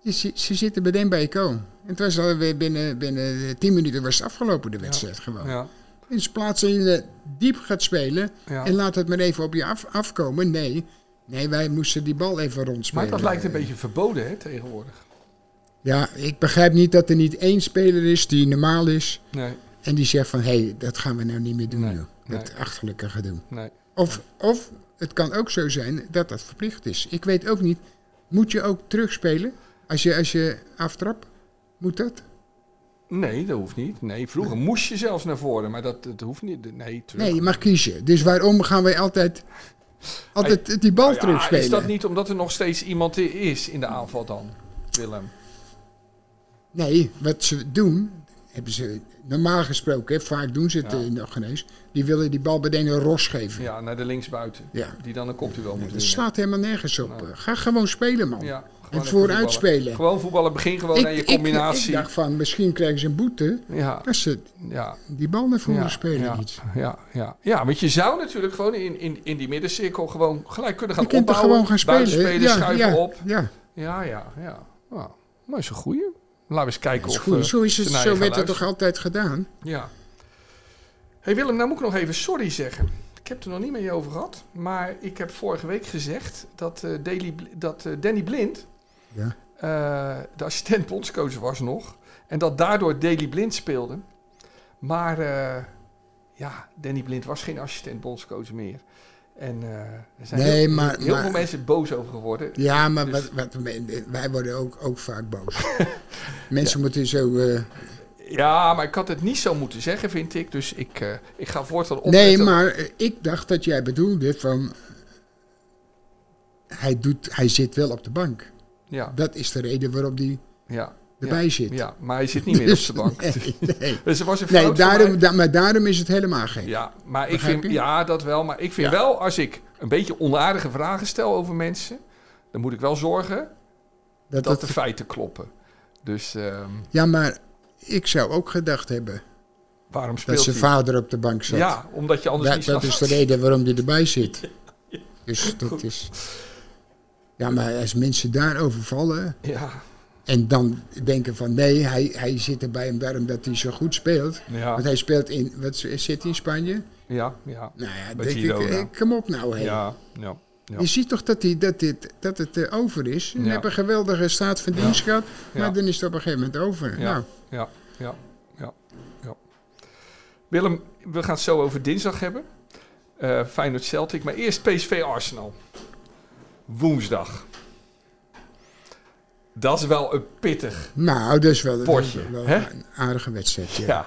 [SPEAKER 2] ze, ze- ze zitten meteen bij je koon. En het was alweer binnen, binnen 10 minuten was het afgelopen, de wedstrijd gewoon.
[SPEAKER 3] Ja.
[SPEAKER 2] In plaats dat je eh, diep gaat spelen
[SPEAKER 3] Ja.
[SPEAKER 2] en laat het maar even op je af, afkomen. Nee, nee, wij moesten die bal even rondspelen.
[SPEAKER 3] Maar dat lijkt een beetje verboden hè, tegenwoordig.
[SPEAKER 2] Ja, ik begrijp niet dat er niet één speler is die normaal is
[SPEAKER 3] Nee,
[SPEAKER 2] en die zegt van... hé, hey, dat gaan we nou niet meer doen,
[SPEAKER 3] Nee,
[SPEAKER 2] joh. dat
[SPEAKER 3] nee.
[SPEAKER 2] achterlijke gedoe.
[SPEAKER 3] nee.
[SPEAKER 2] Of, of het kan ook zo zijn dat dat verplicht is. Ik weet ook niet. Moet je ook terugspelen als je, als je aftrapt? Moet dat?
[SPEAKER 3] Nee, dat hoeft niet. Nee, vroeger moest je zelfs naar voren, maar dat, dat hoeft niet. Nee, terug.
[SPEAKER 2] Nee, je mag kiezen. Dus waarom gaan wij altijd, altijd die bal
[SPEAKER 3] Nou ja,
[SPEAKER 2] terugspelen?
[SPEAKER 3] Is dat niet omdat er nog steeds iemand i- is in de aanval dan, Willem?
[SPEAKER 2] Nee, wat ze doen, hebben ze normaal gesproken, hè, vaak doen ze het
[SPEAKER 3] Ja.
[SPEAKER 2] eh, nog ineens. Die willen die bal meteen een ros geven. Ja.
[SPEAKER 3] Ja, naar de linksbuiten. Die dan een kopduel moet
[SPEAKER 2] Dat
[SPEAKER 3] winnen.
[SPEAKER 2] slaat helemaal nergens op. eh. Ga gewoon spelen, man.
[SPEAKER 3] Ja,
[SPEAKER 2] en
[SPEAKER 3] gewoon
[SPEAKER 2] vooruit
[SPEAKER 3] voetballen.
[SPEAKER 2] spelen.
[SPEAKER 3] Gewoon voetballen, begin gewoon naar je
[SPEAKER 2] Ik,
[SPEAKER 3] combinatie.
[SPEAKER 2] ik dacht van, misschien krijgen ze een boete
[SPEAKER 3] ja,
[SPEAKER 2] als ze
[SPEAKER 3] ja.
[SPEAKER 2] die bal naar voren
[SPEAKER 3] ja,
[SPEAKER 2] spelen.
[SPEAKER 3] ja,
[SPEAKER 2] iets.
[SPEAKER 3] Ja, ja. ja, want je zou natuurlijk gewoon in, in, in die middencirkel gewoon gelijk kunnen gaan
[SPEAKER 2] Je kunt er
[SPEAKER 3] opbouwen.
[SPEAKER 2] gewoon gaan spelen.
[SPEAKER 3] buitenspelen,
[SPEAKER 2] ja,
[SPEAKER 3] schuiven
[SPEAKER 2] ja,
[SPEAKER 3] op.
[SPEAKER 2] Ja,
[SPEAKER 3] Ja, ja, ja. Nou, maar is een goeie. Laten we eens kijken
[SPEAKER 2] dat is
[SPEAKER 3] of
[SPEAKER 2] goed.
[SPEAKER 3] eh,
[SPEAKER 2] Zo, is het,
[SPEAKER 3] ze naar
[SPEAKER 2] zo
[SPEAKER 3] je gaan
[SPEAKER 2] werd dat toch altijd gedaan?
[SPEAKER 3] Ja. hey Willem, nou moet ik nog even sorry zeggen. Ik heb het er nog niet met je over gehad. Maar ik heb vorige week gezegd dat, eh, Daily Bl- dat eh, Danny Blind
[SPEAKER 2] Ja.
[SPEAKER 3] eh, de assistent bondscoach was nog. En dat daardoor Daily Blind speelde. Maar eh, ja, Danny Blind was geen assistent bondscoach meer. En eh, er zijn
[SPEAKER 2] Nee,
[SPEAKER 3] heel,
[SPEAKER 2] maar-
[SPEAKER 3] heel
[SPEAKER 2] maar-
[SPEAKER 3] veel mensen boos over geworden.
[SPEAKER 2] Ja, maar
[SPEAKER 3] Dus-
[SPEAKER 2] wat, wat, wij worden ook, ook vaak boos. Mensen moeten zo... eh,
[SPEAKER 3] Ja, maar ik had het niet zo moeten zeggen, vind ik. Dus ik, eh, ik ga voortaan op.
[SPEAKER 2] nee, maar eh, ik dacht dat jij bedoelde van... Hij, doet, hij zit wel op de bank.
[SPEAKER 3] Ja,
[SPEAKER 2] Dat is de reden waarop hij
[SPEAKER 3] ja.
[SPEAKER 2] erbij zit.
[SPEAKER 3] Ja, maar hij zit niet meer op de bank.
[SPEAKER 2] Nee, nee.
[SPEAKER 3] Dus er was een fout
[SPEAKER 2] nee
[SPEAKER 3] van
[SPEAKER 2] daarom,
[SPEAKER 3] mij.
[SPEAKER 2] da- maar daarom is het helemaal geen.
[SPEAKER 3] Ja, maar ik
[SPEAKER 2] Begrijp
[SPEAKER 3] vind,
[SPEAKER 2] je?
[SPEAKER 3] ja, dat wel. Maar ik vind
[SPEAKER 2] Ja.
[SPEAKER 3] wel, als ik een beetje onaardige vragen stel over mensen... dan moet ik wel zorgen
[SPEAKER 2] dat,
[SPEAKER 3] dat,
[SPEAKER 2] dat,
[SPEAKER 3] de feiten kloppen. Dus ehm,
[SPEAKER 2] ja, maar ik zou ook gedacht hebben
[SPEAKER 3] waarom
[SPEAKER 2] dat
[SPEAKER 3] speelt
[SPEAKER 2] zijn
[SPEAKER 3] hij?
[SPEAKER 2] vader op de bank zat.
[SPEAKER 3] Ja, omdat je anders
[SPEAKER 2] Dat,
[SPEAKER 3] niet
[SPEAKER 2] dat is
[SPEAKER 3] snapt.
[SPEAKER 2] de reden waarom die erbij zit. Dus dat is. Ja, maar als mensen daarover vallen
[SPEAKER 3] Ja,
[SPEAKER 2] en dan denken van nee, hij, hij zit erbij hem daarom dat hij zo goed speelt.
[SPEAKER 3] ja,
[SPEAKER 2] Want hij speelt in, wat zit hij in Spanje?
[SPEAKER 3] ja, ja,
[SPEAKER 2] Nou ja,
[SPEAKER 3] Bij
[SPEAKER 2] denk ik,
[SPEAKER 3] Girona.
[SPEAKER 2] eh, kom op nou hé.
[SPEAKER 3] ja, ja.
[SPEAKER 2] Je ziet toch dat, die, dat, dit, dat het eh, over is. Je
[SPEAKER 3] Ja.
[SPEAKER 2] hebt een geweldige staat van dienst gehad, maar
[SPEAKER 3] Ja.
[SPEAKER 2] dan is het op een gegeven moment over.
[SPEAKER 3] Ja,
[SPEAKER 2] Nou,
[SPEAKER 3] ja, ja, ja, ja. Willem, we gaan het zo over dinsdag hebben. Eh Feyenoord Celtic, maar eerst PSV Arsenal. Woensdag. Dat is wel een pittig.
[SPEAKER 2] Nou, dat is wel, dat is
[SPEAKER 3] Potje,
[SPEAKER 2] wel
[SPEAKER 3] hè?
[SPEAKER 2] een aardige wedstrijd. Ja.
[SPEAKER 3] Ja.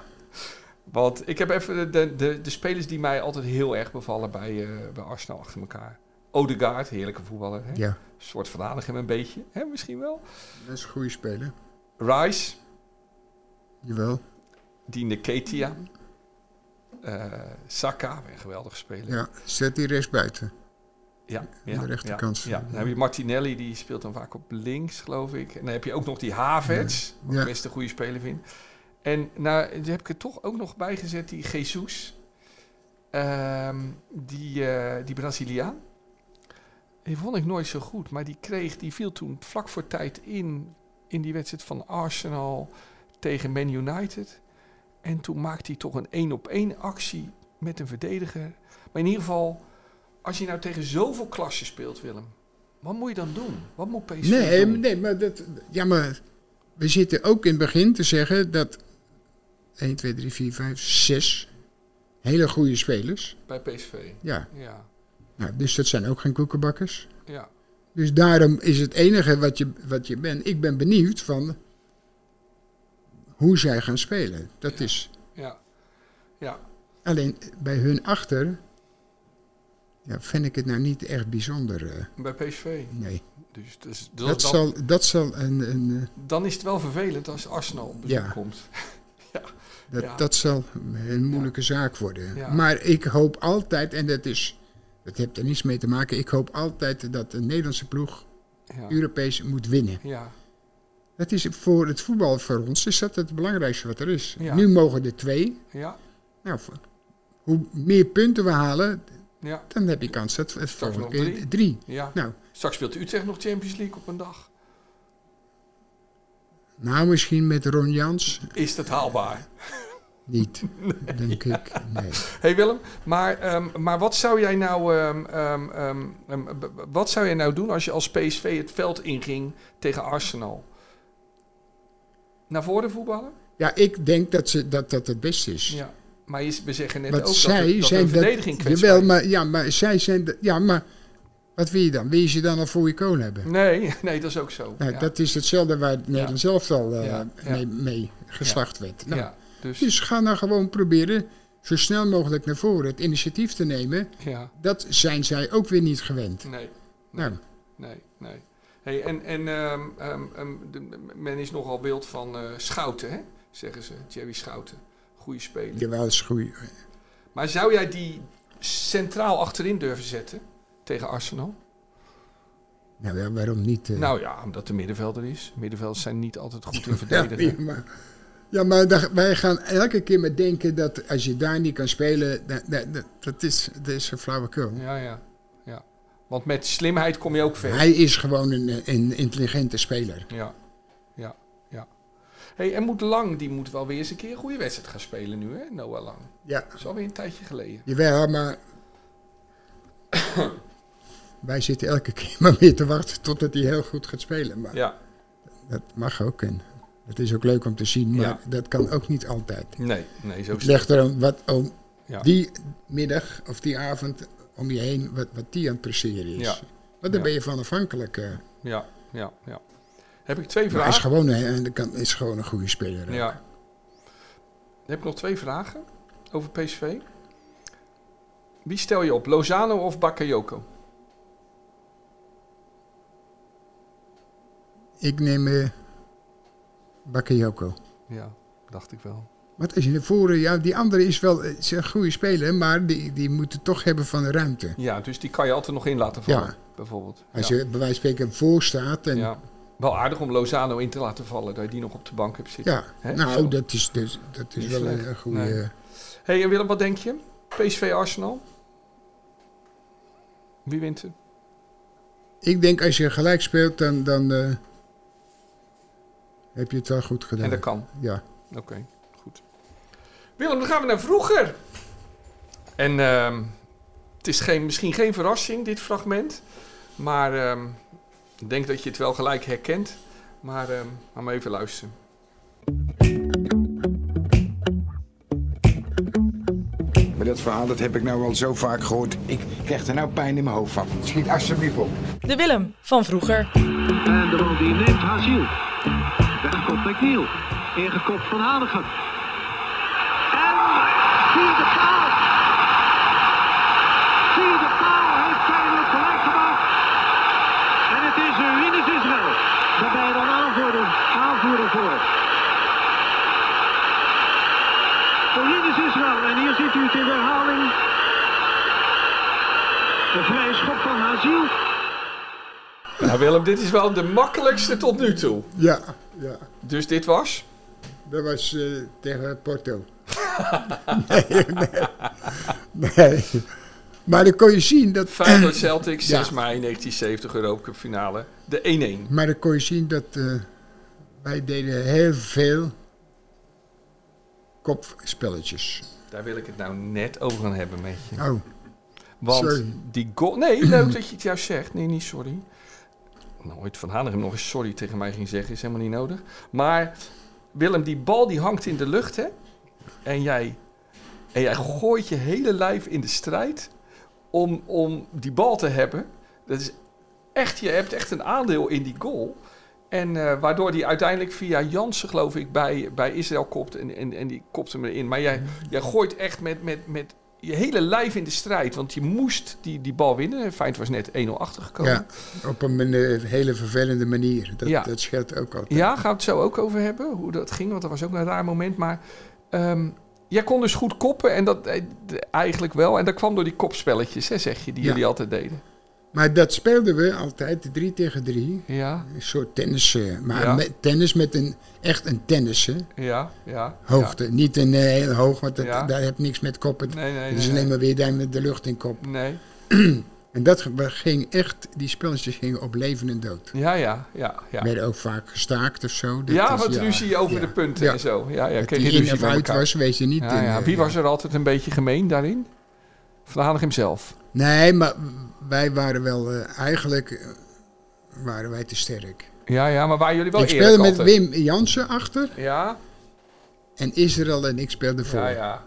[SPEAKER 3] Want ik heb even de, de, de spelers die mij altijd heel erg bevallen bij, eh, bij Arsenal achter elkaar. Odegaard, heerlijke voetballer. Hè?
[SPEAKER 2] Ja,
[SPEAKER 3] Een soort van Hanegem een beetje. Hè? Misschien wel.
[SPEAKER 2] dat is een goede speler.
[SPEAKER 3] Rice,
[SPEAKER 2] Jawel.
[SPEAKER 3] Diende Ketia. Eh Saka, weer een geweldige speler.
[SPEAKER 2] Ja, zet die rest buiten.
[SPEAKER 3] Ja,
[SPEAKER 2] Aan de rechterkant.
[SPEAKER 3] Ja, ja. Dan heb je Martinelli, die speelt dan vaak op links, geloof ik. En dan heb je ook nog die Havertz, wat
[SPEAKER 2] Ja.
[SPEAKER 3] ik best een goede speler vind. En nou, die heb ik er toch ook nog bij gezet, die Jesus. Ehm, die, eh, die Braziliaan. Die vond ik nooit zo goed, maar die kreeg, die viel toen vlak voor tijd in, in die wedstrijd van Arsenal tegen Man United. En toen maakte hij toch een één op één actie met een verdediger. Maar in ieder geval, als je nou tegen zoveel klassen speelt, Willem, wat moet je dan doen? Wat moet PSV
[SPEAKER 2] Nee,
[SPEAKER 3] doen?
[SPEAKER 2] nee maar, dat, ja, maar we zitten ook in het begin te zeggen dat 1, 2, 3, 4, 5, 6 hele goede spelers.
[SPEAKER 3] Bij PSV.
[SPEAKER 2] Ja,
[SPEAKER 3] Ja,
[SPEAKER 2] nou, dus dat zijn ook geen koekenbakkers.
[SPEAKER 3] ja.
[SPEAKER 2] Dus daarom is het enige wat je, wat je bent. Ik ben benieuwd van hoe zij gaan spelen. Dat
[SPEAKER 3] Ja.
[SPEAKER 2] is
[SPEAKER 3] Ja. Ja.
[SPEAKER 2] alleen bij hun achter. Ja, vind ik het nou niet echt bijzonder. eh,
[SPEAKER 3] Bij PSV.
[SPEAKER 2] nee.
[SPEAKER 3] Dus, het is-
[SPEAKER 2] Dat,
[SPEAKER 3] dan,
[SPEAKER 2] zal, dat zal een. een eh,
[SPEAKER 3] dan is het wel vervelend als Arsenal op bezoek
[SPEAKER 2] Ja.
[SPEAKER 3] komt.
[SPEAKER 2] dat,
[SPEAKER 3] Ja.
[SPEAKER 2] dat zal een moeilijke zaak worden.
[SPEAKER 3] Ja.
[SPEAKER 2] Maar ik hoop altijd, en dat is. Dat heeft er niets mee te maken. Ik hoop altijd dat de Nederlandse ploeg
[SPEAKER 3] Ja.
[SPEAKER 2] Europees moet winnen.
[SPEAKER 3] ja.
[SPEAKER 2] Dat is voor het voetbal, voor ons, is dat het belangrijkste wat er is.
[SPEAKER 3] Ja.
[SPEAKER 2] Nu mogen er twee.
[SPEAKER 3] Ja.
[SPEAKER 2] Nou, voor- hoe meer punten we halen,
[SPEAKER 3] Ja.
[SPEAKER 2] dan heb je kans dat het volgende
[SPEAKER 3] nog
[SPEAKER 2] keer
[SPEAKER 3] drie.
[SPEAKER 2] drie.
[SPEAKER 3] Ja.
[SPEAKER 2] Nou,
[SPEAKER 3] Straks speelt Utrecht nog Champions League op een dag.
[SPEAKER 2] nou, misschien met Ron Jans
[SPEAKER 3] Is dat haalbaar?
[SPEAKER 2] niet, denk ik. Nee.
[SPEAKER 3] hey Willem, maar, ehm, maar wat zou jij nou ehm, ehm, ehm, ehm, b- b- wat zou jij nou doen als je als PSV het veld inging tegen Arsenal? Naar voren voetballen?
[SPEAKER 2] Ja, ik denk dat, ze, dat dat het beste is.
[SPEAKER 3] Ja. Maar je, we zeggen net
[SPEAKER 2] Want
[SPEAKER 3] ook
[SPEAKER 2] zij
[SPEAKER 3] dat, het- dat
[SPEAKER 2] zijn
[SPEAKER 3] een verdediging
[SPEAKER 2] dat,
[SPEAKER 3] kwetsbaar
[SPEAKER 2] jawel,
[SPEAKER 3] is.
[SPEAKER 2] maar, ja, maar zij zijn... de- ja, maar wat wil je dan? Wil je ze dan al voor je kool hebben?
[SPEAKER 3] Nee, nee, dat is ook zo.
[SPEAKER 2] Nou,
[SPEAKER 3] ja.
[SPEAKER 2] Dat is hetzelfde waar het Nederland zelf al eh,
[SPEAKER 3] Ja, ja.
[SPEAKER 2] Mee, mee geslacht werd. Nou,
[SPEAKER 3] ja, dus,
[SPEAKER 2] Dus ga nou gewoon proberen zo snel mogelijk naar voren het initiatief te nemen.
[SPEAKER 3] ja,
[SPEAKER 2] Dat zijn zij ook weer niet gewend.
[SPEAKER 3] nee,
[SPEAKER 2] Nou,
[SPEAKER 3] nee, nee. Hey, en en ehm, ehm, ehm, de- men is nogal wild van eh, Schouten, hè? zeggen ze. Jerry Schouten, goede speler.
[SPEAKER 2] jawel, is goed.
[SPEAKER 3] Maar zou jij die centraal achterin durven zetten tegen Arsenal?
[SPEAKER 2] Nou ja, waarom niet? eh,
[SPEAKER 3] Nou ja, omdat de middenvelder is. Middenvelders zijn niet altijd goed in
[SPEAKER 2] ja,
[SPEAKER 3] verdedigen.
[SPEAKER 2] ja, maar, ja, maar daar- wij gaan elke keer maar denken dat als je daar niet kan spelen, dat, dat, dat- dat, is, dat is een flauwekul.
[SPEAKER 3] Ja, ja, ja. Want met slimheid kom je ook ver.
[SPEAKER 2] Hij is gewoon een, een intelligente speler.
[SPEAKER 3] Ja, ja, ja. Hey, en moet Lang, die moet wel weer eens een keer een goede wedstrijd gaan spelen nu, hè? Noah Lang.
[SPEAKER 2] Ja,
[SPEAKER 3] Dat is alweer een tijdje geleden.
[SPEAKER 2] jawel, maar wij zitten elke keer maar weer te wachten totdat hij heel goed gaat spelen. Maar
[SPEAKER 3] Ja,
[SPEAKER 2] dat mag ook en dat is ook leuk om te zien, maar
[SPEAKER 3] Ja.
[SPEAKER 2] dat kan ook niet altijd.
[SPEAKER 3] nee, nee, zo
[SPEAKER 2] Het
[SPEAKER 3] is het.
[SPEAKER 2] ligt er wat om
[SPEAKER 3] Ja.
[SPEAKER 2] die middag of die avond om je heen, wat, wat die aan het presteren is.
[SPEAKER 3] Ja.
[SPEAKER 2] Want daar
[SPEAKER 3] Ja.
[SPEAKER 2] ben je van afhankelijk. eh.
[SPEAKER 3] Ja, ja, ja. Heb ik twee
[SPEAKER 2] Maar hij is
[SPEAKER 3] vragen?
[SPEAKER 2] gewoon, een- hij kan- is gewoon een goede speler. hè.
[SPEAKER 3] Ja. Heb ik nog twee vragen over PSV? Wie stel je op, Lozano of Bakayoko?
[SPEAKER 2] Ik neem eh Bakayoko.
[SPEAKER 3] Ja, dacht ik wel.
[SPEAKER 2] Wat is in de voren? Ja, die andere is wel eh, is een goede speler, maar die, die moet het toch hebben van de ruimte.
[SPEAKER 3] Ja, dus die kan je altijd nog in laten vallen,
[SPEAKER 2] Ja.
[SPEAKER 3] bijvoorbeeld.
[SPEAKER 2] Als
[SPEAKER 3] ja.
[SPEAKER 2] je bij wijze van spreken voor staat. En, ja,
[SPEAKER 3] ja. Wel aardig om Lozano in te laten vallen, dat je die nog op de bank hebt zitten. Hè,
[SPEAKER 2] nou,
[SPEAKER 3] zo.
[SPEAKER 2] dat is, dus, dat is
[SPEAKER 3] Niet
[SPEAKER 2] wel
[SPEAKER 3] slecht.
[SPEAKER 2] een goede.
[SPEAKER 3] Nee.
[SPEAKER 2] eh,
[SPEAKER 3] Hé, hey, en Willem, wat denk je? PSV Arsenal? Wie wint er?
[SPEAKER 2] Ik denk als je gelijk speelt, dan, dan eh, heb je het wel goed gedaan.
[SPEAKER 3] En dat kan.
[SPEAKER 2] Ja.
[SPEAKER 3] Oké, goed. Willem, dan gaan we naar vroeger. En ehm, het is geen, misschien geen verrassing, dit fragment. Maar ehm, ik denk dat je het wel gelijk herkent. Maar ehm laat maar even luisteren.
[SPEAKER 5] Maar dat verhaal, dat heb ik nou al zo vaak gehoord. Ik krijg er nou pijn in mijn hoofd van. Schiet alsjeblieft op.
[SPEAKER 4] De Willem van vroeger.
[SPEAKER 6] En de bal die neemt Haziel. Weggekopt McNeil. Ingekopt van Hanegem. En vierde paal. Vierde paal heeft Feyenoord gelijk gemaakt. En het is een winnend Israël. Daar ben je dan aanvoerder, aanvoerder voor. Voor Linus Israël. En hier ziet u het in de herhaling. De vrije schop van Haziel.
[SPEAKER 3] Nou Willem, dit is wel de makkelijkste tot nu toe.
[SPEAKER 2] Ja, ja.
[SPEAKER 3] Dus dit was?
[SPEAKER 2] Dat was eh, tegen Porto. nee, nee. nee. Maar dan kon je zien dat...
[SPEAKER 3] Feyenoord Celtic, 6
[SPEAKER 2] Ja.
[SPEAKER 3] mei 1970 Europa Cup finale. De 1-1.
[SPEAKER 2] Maar dan kon je zien dat eh, wij deden heel veel kopspelletjes.
[SPEAKER 3] Daar wil ik het nou net over gaan hebben met je.
[SPEAKER 2] Oh,
[SPEAKER 3] Want
[SPEAKER 2] Sorry.
[SPEAKER 3] die goal... Nee, leuk dat je het juist zegt. Nee, niet sorry. Nooit Van Hanegem nog eens sorry tegen mij ging zeggen. Is helemaal niet nodig. Maar Willem, die bal die hangt in de lucht, hè? En jij, en jij gooit je hele lijf in de strijd om, om die bal te hebben. Dat is echt, je hebt echt een aandeel in die goal. En eh, waardoor die uiteindelijk via Jansen, geloof ik, bij, bij Israël kopt. En, en, en die kopt hem erin. Maar jij,
[SPEAKER 2] Mhm.
[SPEAKER 3] jij gooit echt met, met, met je hele lijf in de strijd. Want je moest die, die bal winnen. Feyenoord was net 1-0 achtergekomen.
[SPEAKER 2] ja, op een manier- hele vervelende manier. Dat,
[SPEAKER 3] Ja.
[SPEAKER 2] dat scheelt ook altijd.
[SPEAKER 3] Ja, gaan we het zo ook over hebben, hoe dat ging. Want dat was ook een raar moment. Maar ehm, jij kon dus goed koppen en dat eh, d- eigenlijk wel. En dat kwam door die kopspelletjes, hè, zeg je, die
[SPEAKER 2] Ja.
[SPEAKER 3] jullie altijd deden.
[SPEAKER 2] Maar dat speelden we altijd, drie tegen drie.
[SPEAKER 3] Ja,
[SPEAKER 2] Een soort tennis, eh, maar
[SPEAKER 3] Ja.
[SPEAKER 2] met, tennis met een, echt een tennissen
[SPEAKER 3] ja, ja.
[SPEAKER 2] hoogte. Niet een eh, heel hoog, want dat,
[SPEAKER 3] Ja.
[SPEAKER 2] daar heb niks met koppen.
[SPEAKER 3] Ja. Nee, nee,
[SPEAKER 2] Het is
[SPEAKER 3] nee.
[SPEAKER 2] alleen
[SPEAKER 3] nee.
[SPEAKER 2] maar weer daar met de lucht in kop.
[SPEAKER 3] Nee.
[SPEAKER 2] En dat ge- ging echt, die spelletjes gingen op leven en dood.
[SPEAKER 3] Ja, ja, ja, ja.
[SPEAKER 2] Werden ook vaak gestaakt of zo. Dat
[SPEAKER 3] ja,
[SPEAKER 2] is-
[SPEAKER 3] wat ruzie over
[SPEAKER 2] ja.
[SPEAKER 3] de punten
[SPEAKER 2] Ja.
[SPEAKER 3] en zo. Ja, ja,
[SPEAKER 2] Dat
[SPEAKER 3] kreeg
[SPEAKER 2] die
[SPEAKER 3] je
[SPEAKER 2] in
[SPEAKER 3] ruzie
[SPEAKER 2] of
[SPEAKER 3] van
[SPEAKER 2] uit
[SPEAKER 3] elkaar.
[SPEAKER 2] was, weet je niet.
[SPEAKER 3] Ja,
[SPEAKER 2] En,
[SPEAKER 3] ja.
[SPEAKER 2] eh,
[SPEAKER 3] Wie was er altijd een beetje gemeen daarin? Van Hanegem zelf.
[SPEAKER 2] Nee, maar wij waren wel, eh, eigenlijk eh, waren wij te sterk.
[SPEAKER 3] Ja, ja, maar waren jullie wel
[SPEAKER 2] ik
[SPEAKER 3] eerlijk
[SPEAKER 2] speelde met
[SPEAKER 3] altijd?
[SPEAKER 2] Wim Jansen achter
[SPEAKER 3] Ja,
[SPEAKER 2] en Israël en ik speelden voor.
[SPEAKER 3] ja, ja.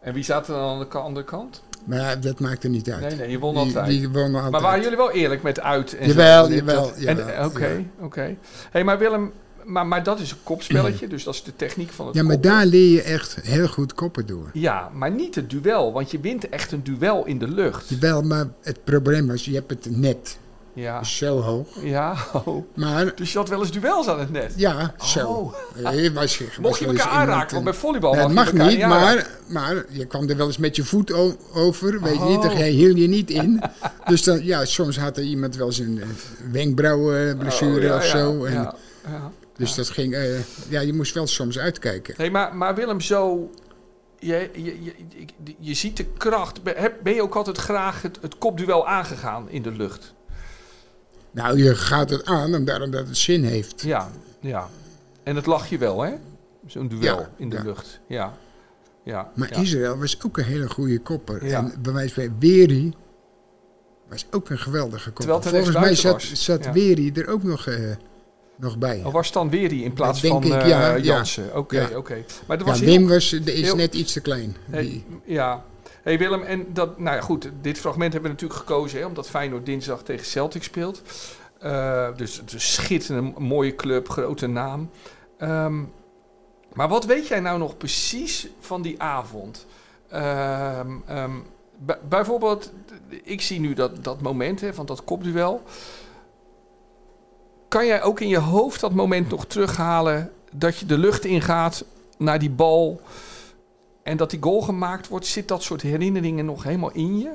[SPEAKER 3] En wie zat er dan aan de ka- andere kant?
[SPEAKER 2] Maar dat maakte niet uit.
[SPEAKER 3] Nee, nee, je won
[SPEAKER 2] Die-
[SPEAKER 3] altijd.
[SPEAKER 2] Die, wonnen altijd.
[SPEAKER 3] Maar waren jullie wel eerlijk met uit? En zo?
[SPEAKER 2] Jawel,
[SPEAKER 3] Dat-
[SPEAKER 2] jawel,
[SPEAKER 3] en- Oké,
[SPEAKER 2] jawel,
[SPEAKER 3] oké.
[SPEAKER 2] jawel.
[SPEAKER 3] hey, maar Willem, maar, maar dat is een kopspelletje, dus dat is de techniek van het
[SPEAKER 2] Ja, maar
[SPEAKER 3] koppen.
[SPEAKER 2] daar leer je echt heel goed koppen door.
[SPEAKER 3] Ja, maar niet het duel, want je wint echt een duel in de lucht.
[SPEAKER 2] Wel, maar het probleem was, je hebt het net
[SPEAKER 3] Ja,
[SPEAKER 2] zo hoog.
[SPEAKER 3] ja. oh.
[SPEAKER 2] Maar
[SPEAKER 3] Dus je had wel eens duels aan het net.
[SPEAKER 2] ja, zo.
[SPEAKER 3] Oh.
[SPEAKER 2] Eh, was je, was
[SPEAKER 3] Mocht je
[SPEAKER 2] wel eens
[SPEAKER 3] elkaar aanraken,
[SPEAKER 2] iemand
[SPEAKER 3] want
[SPEAKER 2] een-
[SPEAKER 3] bij volleybal
[SPEAKER 2] Nee,
[SPEAKER 3] mag,
[SPEAKER 2] dat eh, mag
[SPEAKER 3] je elkaar
[SPEAKER 2] niet,
[SPEAKER 3] aanraken.
[SPEAKER 2] maar, maar je kwam er wel eens met je voet o- over. Weet je niet,
[SPEAKER 3] Oh.
[SPEAKER 2] daar hield je niet in. dus dan, ja, soms had er iemand wel eens een eh, wenkbrauwblessure
[SPEAKER 3] Oh, ja,
[SPEAKER 2] of
[SPEAKER 3] ja,
[SPEAKER 2] zo. en,
[SPEAKER 3] ja, ja.
[SPEAKER 2] Dus dat ging, eh, ja, je moest wel soms uitkijken.
[SPEAKER 3] Nee, maar, maar Willem, zo. Je, je, je, ik- je ziet de kracht. Ben heb- ben je ook altijd graag het, het kopduel aangegaan in de lucht?
[SPEAKER 2] Nou, je gaat het aan, en daarom dat het zin heeft.
[SPEAKER 3] Ja, ja. En dat lag je wel, hè? Zo'n duel
[SPEAKER 2] Ja,
[SPEAKER 3] in de
[SPEAKER 2] ja.
[SPEAKER 3] lucht. Ja. ja
[SPEAKER 2] Maar
[SPEAKER 3] ja.
[SPEAKER 2] Israël was ook een hele goede kopper.
[SPEAKER 3] Ja.
[SPEAKER 2] En bij wijze van Weri was ook een geweldige
[SPEAKER 3] Terwijl
[SPEAKER 2] kopper.
[SPEAKER 3] het
[SPEAKER 2] Volgens mij zat,
[SPEAKER 3] rechtsbuiten was.
[SPEAKER 2] zat
[SPEAKER 3] Ja.
[SPEAKER 2] Weri er ook nog, eh, nog bij.
[SPEAKER 3] Oh, was dan Weri in plaats
[SPEAKER 2] Dat
[SPEAKER 3] van
[SPEAKER 2] denk
[SPEAKER 3] eh
[SPEAKER 2] ik, ja, ja.
[SPEAKER 3] Jansen? Oké, oké.
[SPEAKER 2] Ja.
[SPEAKER 3] Maar dat
[SPEAKER 2] ja,
[SPEAKER 3] was heel-
[SPEAKER 2] Wim was, de- is
[SPEAKER 3] heel-
[SPEAKER 2] net iets te klein. Die-
[SPEAKER 3] Hey, ja. Hey Willem, en dat, nou ja, goed, dit fragment hebben we natuurlijk gekozen, hè, omdat Feyenoord dinsdag tegen Celtic speelt. Eh, dus het is een schitterende, mooie club, grote naam. Ehm, maar wat weet jij nou nog precies van die avond? Ehm, ehm, bij- bijvoorbeeld, ik zie nu dat, dat moment hè, van dat kopduel. Kan jij ook in je hoofd dat moment nog terughalen dat je de lucht ingaat naar die bal? En dat die goal gemaakt wordt, zit dat soort herinneringen nog helemaal in je?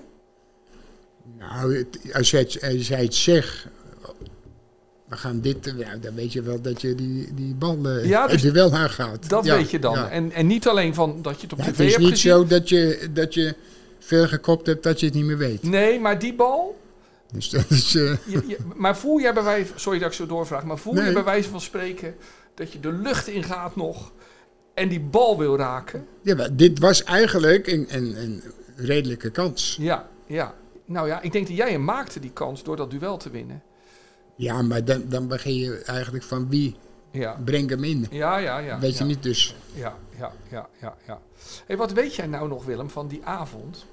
[SPEAKER 2] Nou, het- als jij het, als jij het zegt, we gaan dit, eh, nou, dan weet je wel dat je die, die bal eh
[SPEAKER 3] Ja, dus
[SPEAKER 2] het duel aangaat.
[SPEAKER 3] Dat
[SPEAKER 2] Ja,
[SPEAKER 3] weet je dan.
[SPEAKER 2] ja.
[SPEAKER 3] En, en niet alleen van dat je het op
[SPEAKER 2] Ja,
[SPEAKER 3] tv
[SPEAKER 2] het is
[SPEAKER 3] hebt
[SPEAKER 2] niet
[SPEAKER 3] gezien.
[SPEAKER 2] zo dat je, dat je veel gekopt hebt dat je het niet meer weet.
[SPEAKER 3] Nee, maar die bal.
[SPEAKER 2] Dus dat is, eh,
[SPEAKER 3] je- je- maar voel jij bij wijze. Sorry dat ik zo doorvraag. Maar voel je
[SPEAKER 2] Nee.
[SPEAKER 3] bij wijze van spreken dat je de lucht ingaat nog. En die bal wil raken?
[SPEAKER 2] ja, maar dit was eigenlijk een, een, een redelijke kans.
[SPEAKER 3] Ja, ja. Nou ja, ik denk dat jij hem maakte die kans door dat duel te winnen.
[SPEAKER 2] Ja, maar dan, dan begin je eigenlijk van wie
[SPEAKER 3] Ja,
[SPEAKER 2] Breng hem in.
[SPEAKER 3] ja, ja. ja
[SPEAKER 2] Weet je
[SPEAKER 3] ja.
[SPEAKER 2] niet, dus
[SPEAKER 3] Ja, ja, ja, ja, ja. Hey, wat weet jij nou nog, Willem, van die avond?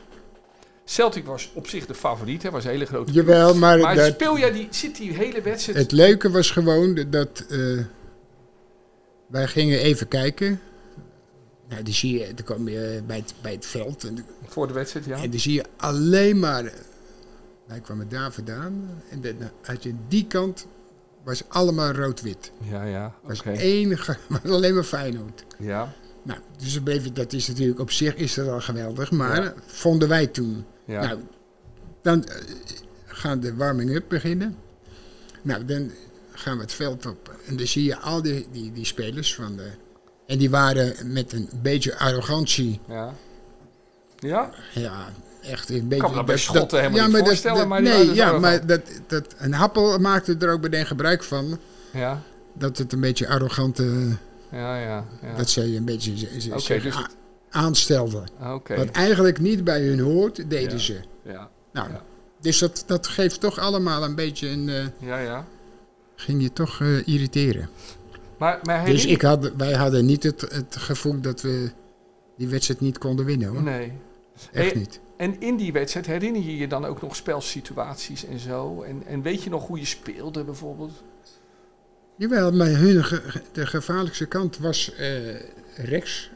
[SPEAKER 3] Celtic was op zich de favoriet, hè, was een hele grote ploeg.
[SPEAKER 2] Jawel, maar
[SPEAKER 3] Maar
[SPEAKER 2] dat-
[SPEAKER 3] speel jij die, zit die hele wedstrijd...
[SPEAKER 2] het leuke was gewoon dat eh, wij gingen even kijken. Nou, die zie je, dan kwam je bij het, bij het veld en
[SPEAKER 3] voor de wedstrijd, ja.
[SPEAKER 2] En dan zie je alleen maar. eh, Wij kwamen daar vandaan. En dan had je die kant. Was allemaal rood-wit.
[SPEAKER 3] Ja, ja, oké.
[SPEAKER 2] Was één, ge- was alleen maar Feyenoord.
[SPEAKER 3] Ja,
[SPEAKER 2] Nou, dus dan bleef het- dat is natuurlijk op zich is dat al geweldig. Maar vonden wij toen.
[SPEAKER 3] ja.
[SPEAKER 2] Nou, dan eh, gaan de warming-up beginnen. Nou, dan gaan we het veld op. En dan zie je al die, die, die spelers van de. En die waren met een beetje arrogantie.
[SPEAKER 3] ja. Ja?
[SPEAKER 2] Ja, echt een beetje...
[SPEAKER 3] me dat bij Schotten helemaal niet voorstellen,
[SPEAKER 2] dat,
[SPEAKER 3] maar die
[SPEAKER 2] nee,
[SPEAKER 3] waren er
[SPEAKER 2] ja,
[SPEAKER 3] zo
[SPEAKER 2] maar
[SPEAKER 3] van.
[SPEAKER 2] dat, dat, een happel maakte er ook meteen gebruik van.
[SPEAKER 3] Ja,
[SPEAKER 2] Dat het een beetje arrogante...
[SPEAKER 3] ja, ja. ja.
[SPEAKER 2] Dat ze je een beetje z- z-
[SPEAKER 3] Oké,
[SPEAKER 2] zich
[SPEAKER 3] dus
[SPEAKER 2] a-
[SPEAKER 3] het-
[SPEAKER 2] aanstelden.
[SPEAKER 3] Ah, Oké,
[SPEAKER 2] Wat eigenlijk niet bij hun hoort, deden
[SPEAKER 3] Ja.
[SPEAKER 2] ze.
[SPEAKER 3] ja.
[SPEAKER 2] Nou,
[SPEAKER 3] Ja.
[SPEAKER 2] dus dat, dat geeft toch allemaal een beetje een... eh,
[SPEAKER 3] Ja, ja.
[SPEAKER 2] ging je toch eh, irriteren.
[SPEAKER 3] Maar, maar
[SPEAKER 2] Dus
[SPEAKER 3] herinner-
[SPEAKER 2] ik had, wij hadden niet het, het gevoel dat we die wedstrijd niet konden winnen, hoor.
[SPEAKER 3] Nee.
[SPEAKER 2] Echt
[SPEAKER 3] Hey,
[SPEAKER 2] niet.
[SPEAKER 3] En in die wedstrijd herinner je je dan ook nog spelsituaties en zo? En, en weet je nog hoe je speelde bijvoorbeeld?
[SPEAKER 2] Jawel, maar hun ge- ge- de gevaarlijkste kant was eh, rechts.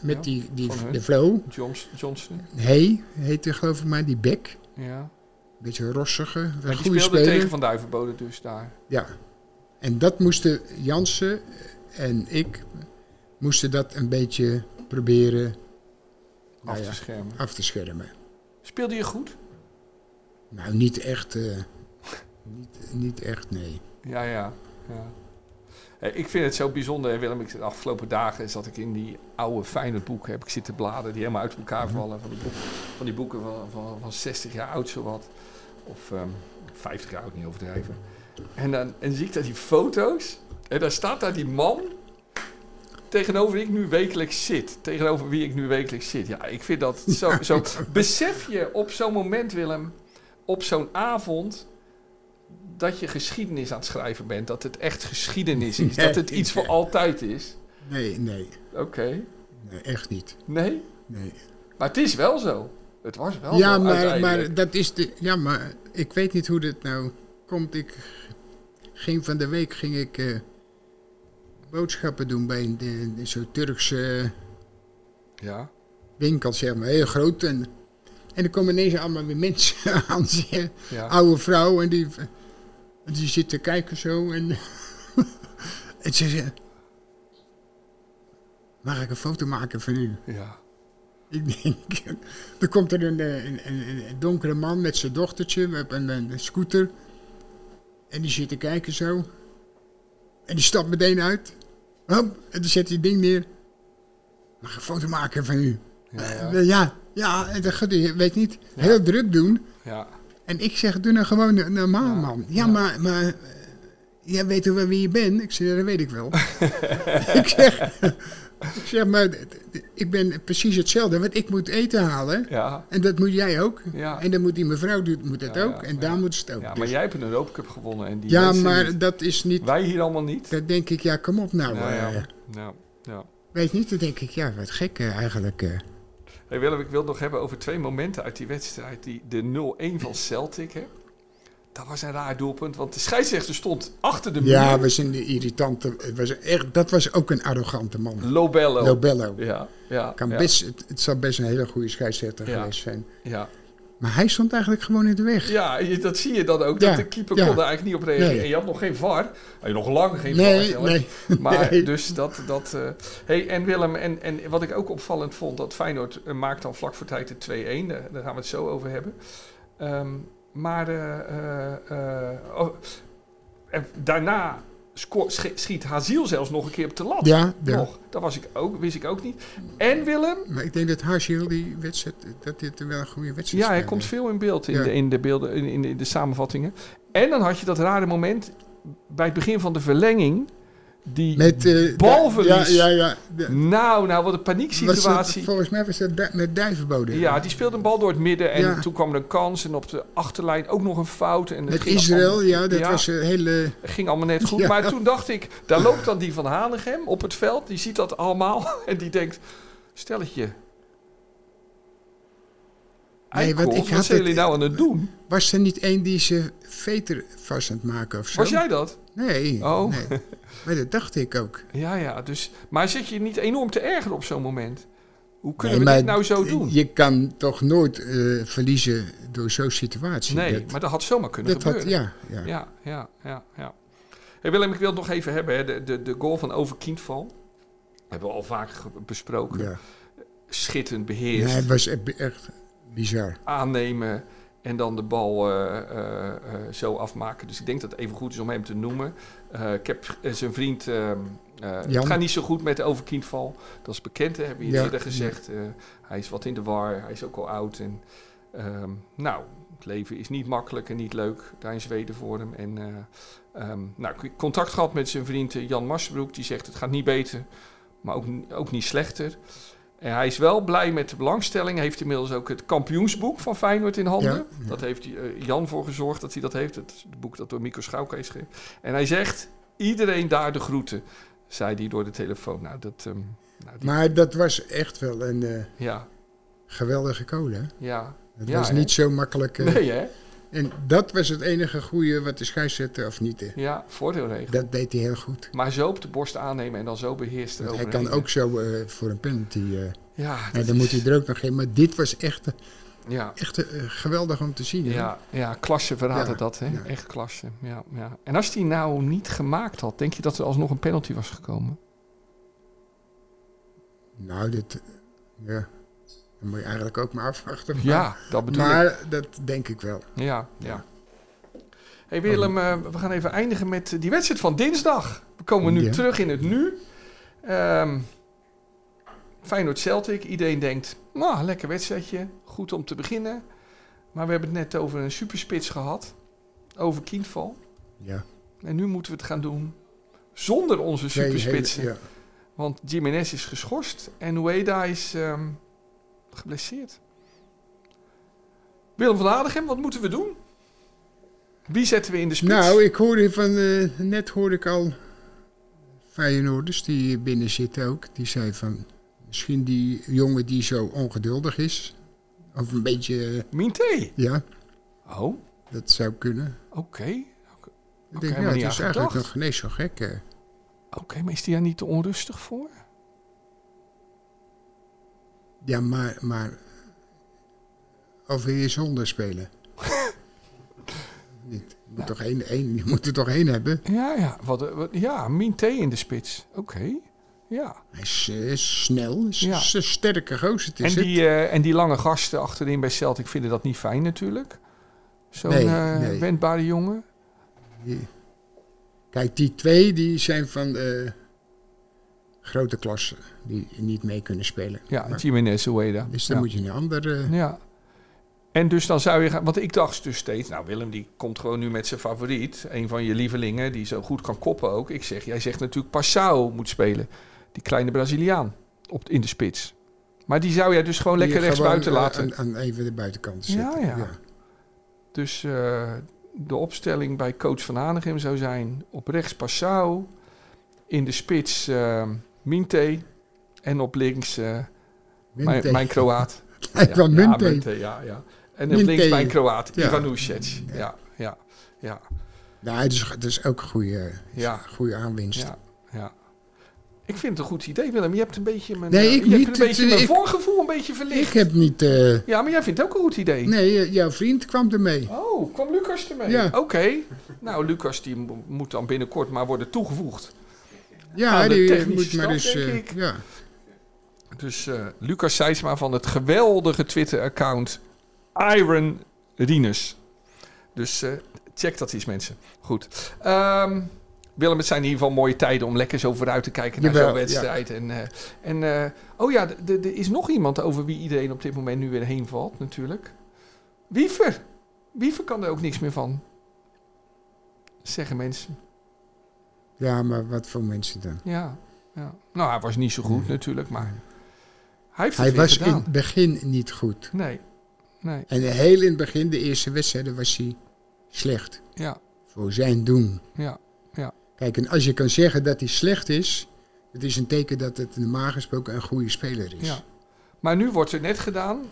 [SPEAKER 2] Met
[SPEAKER 3] Ja,
[SPEAKER 2] die, die
[SPEAKER 3] van hun.
[SPEAKER 2] de flow.
[SPEAKER 3] Johns- Johnson?
[SPEAKER 2] Hey heette geloof ik maar, die bek.
[SPEAKER 3] Ja.
[SPEAKER 2] Beetje rossige,
[SPEAKER 3] Maar
[SPEAKER 2] een
[SPEAKER 3] die
[SPEAKER 2] goede
[SPEAKER 3] speelde
[SPEAKER 2] speler.
[SPEAKER 3] tegen Van Duivenbode dus daar.
[SPEAKER 2] Ja. En dat moesten Jansen en ik moesten dat een beetje proberen nou
[SPEAKER 3] af
[SPEAKER 2] ja,
[SPEAKER 3] te schermen.
[SPEAKER 2] af te schermen.
[SPEAKER 3] Speelde je goed?
[SPEAKER 2] Nou, niet echt, eh, niet, niet echt, nee.
[SPEAKER 3] Ja, ja. ja. Hé, ik vind het zo bijzonder, hè, Willem. Ik, de afgelopen dagen zat ik in die oude fijne boeken. Heb ik zitten bladeren die helemaal uit elkaar vallen. Van die boeken van, die boeken van, van, van 60 jaar oud, zowat. Of ehm, 50 jaar oud, niet overdrijven. En dan en zie ik daar die foto's. En daar staat daar die man. Tegenover wie ik nu wekelijks zit. Tegenover wie ik nu wekelijks zit. Ja, ik vind dat zo. zo besef je op zo'n moment, Willem. Op zo'n avond dat je geschiedenis aan het schrijven bent. Dat het echt geschiedenis is. Dat het iets voor altijd is.
[SPEAKER 2] Nee, nee,
[SPEAKER 3] Oké.
[SPEAKER 2] nee echt niet.
[SPEAKER 3] Nee.
[SPEAKER 2] Nee.
[SPEAKER 3] Maar het is wel zo. Het was wel
[SPEAKER 2] Ja,
[SPEAKER 3] zo
[SPEAKER 2] maar,
[SPEAKER 3] uiteindelijk.
[SPEAKER 2] maar dat is de. Ja, maar ik weet niet hoe dit nou komt. Ik ging van de week ging ik eh, boodschappen doen bij een, de- de- zo'n Turkse
[SPEAKER 3] Ja.
[SPEAKER 2] winkel, zeg maar, heel groot. En, en er komen ineens allemaal weer mensen aan, zeg,
[SPEAKER 3] Ja.
[SPEAKER 2] oude vrouw, en die, en die zit te kijken zo. En, en ze zegt, mag ik een foto maken van u?
[SPEAKER 3] Ja.
[SPEAKER 2] Ik denk, er komt er een, eh, een, een, een donkere man met zijn dochtertje op een, een scooter. En die zit te kijken zo. En die stapt meteen uit. Hop, en dan zet hij het ding neer. Mag ik een foto maken van u?
[SPEAKER 3] Ja,
[SPEAKER 2] Eh,
[SPEAKER 3] ja.
[SPEAKER 2] Ja, ja, en dat gaat hij, weet niet, heel druk doen.
[SPEAKER 3] Ja.
[SPEAKER 2] En ik zeg, doe nou gewoon no- normaal, man. Ja, maar, maar eh, jij weet toch wel wie je bent? Ik zeg, ja, dat weet ik wel. ik, zeg, ik zeg, maar d- d- ik ben precies hetzelfde. Want ik moet eten halen.
[SPEAKER 3] Ja.
[SPEAKER 2] En dat moet jij ook.
[SPEAKER 3] Ja.
[SPEAKER 2] En dan moet die mevrouw doet, moet dat
[SPEAKER 3] Ja,
[SPEAKER 2] ook.
[SPEAKER 3] ja,
[SPEAKER 2] en
[SPEAKER 3] ja.
[SPEAKER 2] daar moet ze het ook.
[SPEAKER 3] Ja,
[SPEAKER 2] Dus-
[SPEAKER 3] maar jij hebt een Europa Cup gewonnen. En die
[SPEAKER 2] ja,
[SPEAKER 3] mensen
[SPEAKER 2] maar
[SPEAKER 3] niet.
[SPEAKER 2] dat is niet...
[SPEAKER 3] Wij hier allemaal niet.
[SPEAKER 2] Dat denk ik, ja, kom op nou.
[SPEAKER 3] Nou ja.
[SPEAKER 2] eh,
[SPEAKER 3] Nou, ja.
[SPEAKER 2] Weet niet, dan denk ik, ja, wat gek eh, eigenlijk. eh.
[SPEAKER 3] Hey Willem, ik wil het nog hebben over twee momenten uit die wedstrijd. Die, de 0-1 van Celtic, hè. Dat was een raar doelpunt, want de scheidsrechter stond achter de muur.
[SPEAKER 2] Ja, we zijn de irritante... het was echt, dat was ook een arrogante man.
[SPEAKER 3] Lobello.
[SPEAKER 2] Lobello.
[SPEAKER 3] Ja, ja.
[SPEAKER 2] Kan
[SPEAKER 3] ja,
[SPEAKER 2] best, het, het zou best een hele goede scheidsrechter
[SPEAKER 3] Ja.
[SPEAKER 2] geweest zijn.
[SPEAKER 3] Ja,
[SPEAKER 2] Maar hij stond eigenlijk gewoon in de weg.
[SPEAKER 3] ja je- dat zie je dan ook.
[SPEAKER 2] Ja,
[SPEAKER 3] Dat de keeper
[SPEAKER 2] ja.
[SPEAKER 3] kon daar eigenlijk niet op reageren.
[SPEAKER 2] Nee.
[SPEAKER 3] En je had nog geen VAR. Had je nog lang geen VAR.
[SPEAKER 2] nee,
[SPEAKER 3] zelfs.
[SPEAKER 2] nee.
[SPEAKER 3] Maar
[SPEAKER 2] Nee.
[SPEAKER 3] dus dat... dat eh, hey, en Willem, en, en wat ik ook opvallend vond... dat Feyenoord eh, maakt dan vlak voor tijd de 2-1. Daar, daar gaan we het zo over hebben. Ehm, maar eh, eh, eh, oh, en daarna sco- schi- schiet Haziel zelfs nog een keer op de lat.
[SPEAKER 2] Ja, ja.
[SPEAKER 3] Nog. Dat was ik ook, wist ik ook niet. En Willem...
[SPEAKER 2] Maar ik denk dat Harshiel die wedstrijd, dat dit wel een goede wedstrijd
[SPEAKER 3] Ja, hij
[SPEAKER 2] speelde.
[SPEAKER 3] komt veel in beeld in,
[SPEAKER 2] Ja.
[SPEAKER 3] de, in, de beelden, in, in, de, in de samenvattingen. En dan had je dat rare moment bij het begin van de verlenging. Die
[SPEAKER 2] Met, eh,
[SPEAKER 3] balverlies.
[SPEAKER 2] Ja, ja, ja. De-
[SPEAKER 3] Nou, nou, wat een
[SPEAKER 2] was dat-
[SPEAKER 3] panieksituatie.
[SPEAKER 2] volgens mij was dat du- met duivenboden.
[SPEAKER 3] Ja, die speelde een bal door het midden en
[SPEAKER 2] Ja.
[SPEAKER 3] toen kwam er een kans. En op de achterlijn ook nog een fout. En het
[SPEAKER 2] Met
[SPEAKER 3] ging
[SPEAKER 2] Israël,
[SPEAKER 3] allemaal-
[SPEAKER 2] ja, dat was een hele...
[SPEAKER 3] ging allemaal net goed.
[SPEAKER 2] Ja.
[SPEAKER 3] Maar toen dacht ik, daar loopt dan die van Hanegem op het veld. Die ziet dat allemaal en die denkt, stelletje.
[SPEAKER 2] Nee, want
[SPEAKER 3] eikel,
[SPEAKER 2] ik
[SPEAKER 3] wat
[SPEAKER 2] had
[SPEAKER 3] zijn
[SPEAKER 2] het-
[SPEAKER 3] jullie nou aan het doen?
[SPEAKER 2] Was er niet één die ze veter vast aan het maken of zo?
[SPEAKER 3] Was jij dat?
[SPEAKER 2] Nee,
[SPEAKER 3] Oh.
[SPEAKER 2] nee. Maar dat dacht ik ook.
[SPEAKER 3] Ja, ja. Dus, maar zit je niet enorm te ergeren op zo'n moment? Hoe kunnen
[SPEAKER 2] Nee,
[SPEAKER 3] we dit
[SPEAKER 2] maar eh,
[SPEAKER 3] nou zo doen?
[SPEAKER 2] Je kan toch nooit eh, verliezen door zo'n situatie.
[SPEAKER 3] Nee,
[SPEAKER 2] dat,
[SPEAKER 3] maar dat had zomaar kunnen
[SPEAKER 2] dat had,
[SPEAKER 3] gebeuren.
[SPEAKER 2] ja, ja.
[SPEAKER 3] ja, ja, ja. ja. Hey Willem, ik wil het nog even hebben. Hè. De, de, de goal van Overkindval. Hebben we al vaak ge- besproken.
[SPEAKER 2] ja.
[SPEAKER 3] Schitterend
[SPEAKER 2] Nee,
[SPEAKER 3] beheerst.
[SPEAKER 2] het was e- echt bizar.
[SPEAKER 3] aannemen en dan de bal eh, eh, eh, zo afmaken. Dus ik denk dat het even goed is om hem te noemen. Eh, ik heb eh, zijn vriend... ehm, eh,
[SPEAKER 2] Jan.
[SPEAKER 3] het gaat niet zo goed met de overkindval. Dat is bekend, hè, hebben we
[SPEAKER 2] Ja.
[SPEAKER 3] eerder gezegd. Eh, hij is wat in de war, hij is ook al oud. En, ehm, nou, het leven is niet makkelijk en niet leuk daar in Zweden voor hem. En, eh, ehm, nou, ik heb contact gehad met zijn vriend eh, Jan Marsbroek. Die zegt het gaat niet beter, maar ook, ni- ook niet slechter. En hij is wel blij met de belangstelling. Hij heeft inmiddels ook het kampioensboek van Feyenoord in handen.
[SPEAKER 2] Ja, ja.
[SPEAKER 3] Dat heeft eh, Jan voor gezorgd dat hij dat heeft. Het is het boek dat door Mico Schouwke is geschreven. En hij zegt, iedereen daar de groeten, zei hij door de telefoon. Nou, dat... ehm, nou, die-
[SPEAKER 2] Maar dat was echt wel een eh,
[SPEAKER 3] ja,
[SPEAKER 2] geweldige code. Hè?
[SPEAKER 3] ja.
[SPEAKER 2] Het
[SPEAKER 3] Ja,
[SPEAKER 2] was
[SPEAKER 3] hè?
[SPEAKER 2] niet zo makkelijk. eh,
[SPEAKER 3] Nee, hè?
[SPEAKER 2] En dat was het enige goede wat de scheidsrechter of niet. eh,
[SPEAKER 3] Ja, voordeelregel.
[SPEAKER 2] Dat deed hij heel goed.
[SPEAKER 3] Maar zo op de borst aannemen en dan zo beheerst
[SPEAKER 2] Want hij
[SPEAKER 3] eroverheen.
[SPEAKER 2] kan ook zo eh, voor een penalty. eh,
[SPEAKER 3] Ja,
[SPEAKER 2] en
[SPEAKER 3] dat
[SPEAKER 2] dan
[SPEAKER 3] is-
[SPEAKER 2] moet hij er ook nog in. Maar dit was echt, eh,
[SPEAKER 3] Ja,
[SPEAKER 2] echt eh, geweldig om te zien. hè?
[SPEAKER 3] ja, ja klasse verraadde
[SPEAKER 2] Ja,
[SPEAKER 3] dat, hè?
[SPEAKER 2] ja.
[SPEAKER 3] Echt klasse. Ja, ja. En als die nou niet gemaakt had, denk je dat er alsnog een penalty was gekomen?
[SPEAKER 2] Nou, dit. eh, Ja. Dan moet je eigenlijk ook maar afwachten. Maar-
[SPEAKER 3] Ja, dat bedoel ik.
[SPEAKER 2] Maar dat denk ik wel.
[SPEAKER 3] Ja, ja. Hey Willem, eh, we gaan even eindigen met eh, die wedstrijd van dinsdag. We komen nu
[SPEAKER 2] Ja.
[SPEAKER 3] terug in het nu. Ehm Feyenoord-Celtic. Iedereen denkt, nou, lekker wedstrijdje. Goed om te beginnen. Maar we hebben het net over een superspits gehad. Over Kindval.
[SPEAKER 2] Ja.
[SPEAKER 3] En nu moeten we het gaan doen zonder onze
[SPEAKER 2] Twee hele-
[SPEAKER 3] superspitsen.
[SPEAKER 2] ja.
[SPEAKER 3] Want Jiménez is geschorst en Ueda is ehm, geblesseerd. Willem van Adegem, wat moeten we doen? Wie zetten we in de spits?
[SPEAKER 2] Nou, ik hoorde van, eh, net hoorde ik al Feyenoorders die binnen zitten ook. Die zei van, misschien die jongen die zo ongeduldig is. Of een beetje, eh,
[SPEAKER 3] Minté.
[SPEAKER 2] ja,
[SPEAKER 3] Oh, oké.
[SPEAKER 2] dat zou kunnen.
[SPEAKER 3] Oké,
[SPEAKER 2] Ik
[SPEAKER 3] Oké,
[SPEAKER 2] denk,
[SPEAKER 3] maar
[SPEAKER 2] ja,
[SPEAKER 3] niet
[SPEAKER 2] het is
[SPEAKER 3] aan
[SPEAKER 2] eigenlijk
[SPEAKER 3] gedacht.
[SPEAKER 2] nog niet zo gek. eh.
[SPEAKER 3] Oké, maar is die daar niet te onrustig voor?
[SPEAKER 2] Ja, maar, maar, of wil je zonder spelen? Niet. Je Moet toch één, één, je moet er toch één hebben?
[SPEAKER 3] Ja, ja. Wat, eh, wat- ja, Minté in de spits. Oké, ja.
[SPEAKER 2] Hij is, eh, is snel, is,
[SPEAKER 3] Ja.
[SPEAKER 2] is een sterke gozer. Het
[SPEAKER 3] En
[SPEAKER 2] is
[SPEAKER 3] die, eh, en die lange gasten achterin bij Celtic vinden dat niet fijn natuurlijk. Zo'n
[SPEAKER 2] Nee,
[SPEAKER 3] eh,
[SPEAKER 2] nee.
[SPEAKER 3] wendbare jongen.
[SPEAKER 2] Die- Kijk, die twee die zijn van eh, grote klassen die niet mee kunnen spelen.
[SPEAKER 3] Ja,
[SPEAKER 2] Maar-
[SPEAKER 3] Jiménez, Ueda.
[SPEAKER 2] dus dan
[SPEAKER 3] Ja. Nou,
[SPEAKER 2] moet je een ander. eh,
[SPEAKER 3] Ja. En dus dan zou je gaan... Want ik dacht dus steeds... Nou, Willem die komt gewoon nu met zijn favoriet. Een van je lievelingen die zo goed kan koppen ook. Ik zeg, jij zegt natuurlijk Passau moet spelen. Die kleine Braziliaan op, in de spits. Maar die zou jij dus gewoon
[SPEAKER 2] die
[SPEAKER 3] lekker
[SPEAKER 2] je
[SPEAKER 3] rechts
[SPEAKER 2] gewoon,
[SPEAKER 3] buiten
[SPEAKER 2] eh,
[SPEAKER 3] laten.
[SPEAKER 2] Aan, aan een van de buitenkanten
[SPEAKER 3] Ja,
[SPEAKER 2] zetten.
[SPEAKER 3] ja. Dus eh, de opstelling bij coach Van Hanegem zou zijn... Op rechts Passau. In de spits eh Minte. En op links eh,
[SPEAKER 2] Minte.
[SPEAKER 3] mijn, mijn Kroaat.
[SPEAKER 2] Hij
[SPEAKER 3] Ja,
[SPEAKER 2] kwam
[SPEAKER 3] ja,
[SPEAKER 2] Munte.
[SPEAKER 3] Munte, ja, ja. En op
[SPEAKER 2] Munte.
[SPEAKER 3] links mijn Kroaat,
[SPEAKER 2] Ja.
[SPEAKER 3] Ivanušec. Ja, ja, ja,
[SPEAKER 2] Nou, het is, het is ook een goede,
[SPEAKER 3] Ja.
[SPEAKER 2] goede aanwinst.
[SPEAKER 3] ja, ja. Ik vind het een goed idee, Willem. Je hebt een beetje mijn,
[SPEAKER 2] Nee,
[SPEAKER 3] eh,
[SPEAKER 2] ik
[SPEAKER 3] je
[SPEAKER 2] niet.
[SPEAKER 3] Hebt een beetje
[SPEAKER 2] Het-
[SPEAKER 3] mijn
[SPEAKER 2] ik-
[SPEAKER 3] voorgevoel een beetje verlicht.
[SPEAKER 2] Ik heb niet. eh,
[SPEAKER 3] Ja, maar jij vindt het ook een goed idee.
[SPEAKER 2] nee, eh, jouw vriend kwam ermee.
[SPEAKER 3] Oh, kwam Lucas ermee?
[SPEAKER 2] Ja.
[SPEAKER 3] Oké. Nou, Lucas die mo- moet dan binnenkort maar worden toegevoegd.
[SPEAKER 2] Ja,
[SPEAKER 3] aan Ah, de
[SPEAKER 2] die eh,
[SPEAKER 3] technische
[SPEAKER 2] moet maar
[SPEAKER 3] staf,
[SPEAKER 2] eens.
[SPEAKER 3] denk
[SPEAKER 2] eh,
[SPEAKER 3] ik.
[SPEAKER 2] ja.
[SPEAKER 3] Dus eh, Lucas Seidsma van het geweldige Twitter-account Iron Rinus. Dus eh, check dat eens, mensen. Goed. Ehm, Willem, het zijn in ieder geval mooie tijden om lekker zo vooruit te kijken naar
[SPEAKER 2] Jawel,
[SPEAKER 3] zo'n wedstrijd. En, eh, en eh, oh ja, d- d- er is nog iemand over wie iedereen op dit moment nu weer heen valt, natuurlijk. Wiever. Wiever kan er ook niks meer van. Zeggen mensen.
[SPEAKER 2] Ja, maar wat voor mensen dan?
[SPEAKER 3] Ja, ja. Nou, hij was niet zo goed natuurlijk, maar hij heeft het
[SPEAKER 2] Hij
[SPEAKER 3] weer
[SPEAKER 2] was in
[SPEAKER 3] gedaan.
[SPEAKER 2] het begin niet goed.
[SPEAKER 3] Nee, nee,
[SPEAKER 2] En heel in het begin, de eerste wedstrijden, was hij slecht.
[SPEAKER 3] ja,
[SPEAKER 2] Voor zijn doen.
[SPEAKER 3] ja, ja,
[SPEAKER 2] Kijk, en als je kan zeggen dat hij slecht is, het is een teken dat het normaal gesproken een goede speler is.
[SPEAKER 3] ja. Maar nu wordt het net gedaan.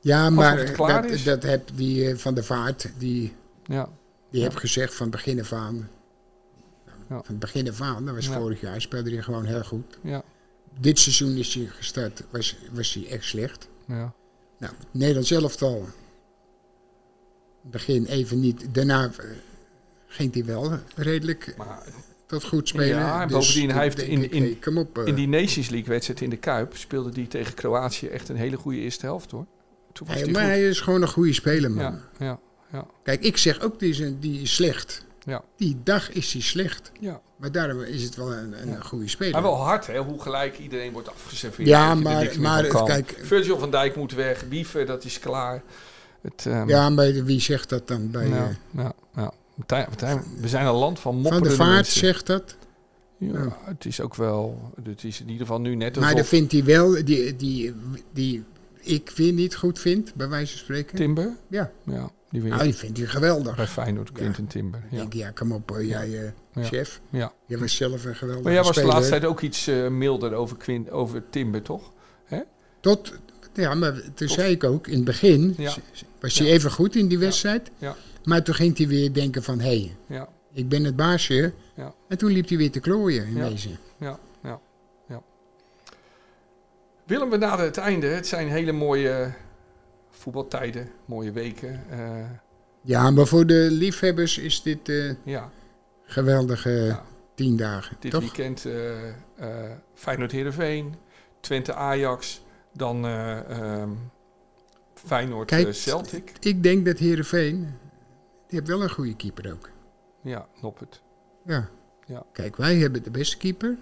[SPEAKER 2] Ja, maar
[SPEAKER 3] het
[SPEAKER 2] eh,
[SPEAKER 3] klaar
[SPEAKER 2] dat,
[SPEAKER 3] is.
[SPEAKER 2] dat heb die eh, van de vaart, die,
[SPEAKER 3] Ja,
[SPEAKER 2] die heeft gezegd van begin af aan.
[SPEAKER 3] Ja.
[SPEAKER 2] Van begin af aan, dat was
[SPEAKER 3] Ja.
[SPEAKER 2] vorig jaar, speelde hij gewoon heel goed.
[SPEAKER 3] ja,
[SPEAKER 2] Dit seizoen is hij gestart, was, was hij echt slecht.
[SPEAKER 3] ja.
[SPEAKER 2] Nou, Nederlands elftal. Begin even niet. Daarna eh, ging hij wel redelijk
[SPEAKER 3] Maar
[SPEAKER 2] tot goed spelen.
[SPEAKER 3] Ja, en
[SPEAKER 2] Dus
[SPEAKER 3] bovendien, hij
[SPEAKER 2] toen
[SPEAKER 3] heeft
[SPEAKER 2] denk
[SPEAKER 3] in-
[SPEAKER 2] ik,
[SPEAKER 3] in-
[SPEAKER 2] hey, kom op, eh,
[SPEAKER 3] In die Nations League wedstrijd in de Kuip speelde die tegen Kroatië echt een hele goede eerste helft hoor. Toen was
[SPEAKER 2] hij-
[SPEAKER 3] die
[SPEAKER 2] maar
[SPEAKER 3] goed.
[SPEAKER 2] hij is gewoon een goede speler, man.
[SPEAKER 3] Ja, ja, ja,
[SPEAKER 2] Kijk, ik zeg ook, die is, die is slecht.
[SPEAKER 3] ja,
[SPEAKER 2] Die dag is hij slecht.
[SPEAKER 3] ja.
[SPEAKER 2] Maar daarom is het wel een, een goede speler.
[SPEAKER 3] Maar wel hard hè, hoe gelijk iedereen wordt afgeserveerd.
[SPEAKER 2] Ja,
[SPEAKER 3] Dat je er
[SPEAKER 2] maar-
[SPEAKER 3] niks meer
[SPEAKER 2] maar
[SPEAKER 3] van kan.
[SPEAKER 2] kijk-
[SPEAKER 3] Virgil van Dijk moet weg, Wiever, dat is klaar. Het, ehm,
[SPEAKER 2] Ja, maar wie zegt dat dan? Bij, eh,
[SPEAKER 3] nou, nou, nou. Martijn- Martijn, we zijn een land van
[SPEAKER 2] van
[SPEAKER 3] mopperende
[SPEAKER 2] de Vaart
[SPEAKER 3] mensen.
[SPEAKER 2] zegt dat.
[SPEAKER 3] Ja, het is ook wel... Het is in ieder geval nu net
[SPEAKER 2] Maar
[SPEAKER 3] alsof
[SPEAKER 2] dat vindt hij wel, die, die, die ik weer niet goed vind, bij wijze van spreken.
[SPEAKER 3] Timber...
[SPEAKER 2] Ja,
[SPEAKER 3] Ja, die weer
[SPEAKER 2] nou, die vindt hij geweldig.
[SPEAKER 3] bij Feyenoord, Quinten Timber.
[SPEAKER 2] Ik
[SPEAKER 3] Ja.
[SPEAKER 2] denk, ja, kom op, hoor, jij eh,
[SPEAKER 3] Ja.
[SPEAKER 2] chef.
[SPEAKER 3] ja.
[SPEAKER 2] Jij was zelf een geweldige
[SPEAKER 3] Maar jij was de
[SPEAKER 2] speler.
[SPEAKER 3] laatste tijd ook iets eh, milder over, Quin over Timber, toch?
[SPEAKER 2] Tot, ja, maar toen zei ik ook, in het begin
[SPEAKER 3] Ja.
[SPEAKER 2] was hij even goed in die wedstrijd.
[SPEAKER 3] Ja.
[SPEAKER 2] Maar toen ging hij weer denken van, hé, hey,
[SPEAKER 3] Ja,
[SPEAKER 2] ik ben het baasje.
[SPEAKER 3] Ja.
[SPEAKER 2] En toen liep hij weer te klooien in
[SPEAKER 3] Ja.
[SPEAKER 2] wezen.
[SPEAKER 3] ja, ja, ja. Willem, we naderen het einde. Het zijn hele mooie voetbaltijden, mooie weken. eh,
[SPEAKER 2] Ja, maar voor de liefhebbers is dit eh,
[SPEAKER 3] ja,
[SPEAKER 2] geweldige
[SPEAKER 3] Ja.
[SPEAKER 2] tien dagen,
[SPEAKER 3] dit
[SPEAKER 2] toch?
[SPEAKER 3] weekend eh eh Feyenoord-Heerenveen, Twente-Ajax, dan eh, ehm, eh,
[SPEAKER 2] Kijk,
[SPEAKER 3] Feyenoord-Celtic.
[SPEAKER 2] Ik denk dat Heerenveen, die heeft wel een goede keeper ook.
[SPEAKER 3] ja, Noppert.
[SPEAKER 2] Ja.
[SPEAKER 3] Ja.
[SPEAKER 2] Kijk, wij hebben de beste keeper.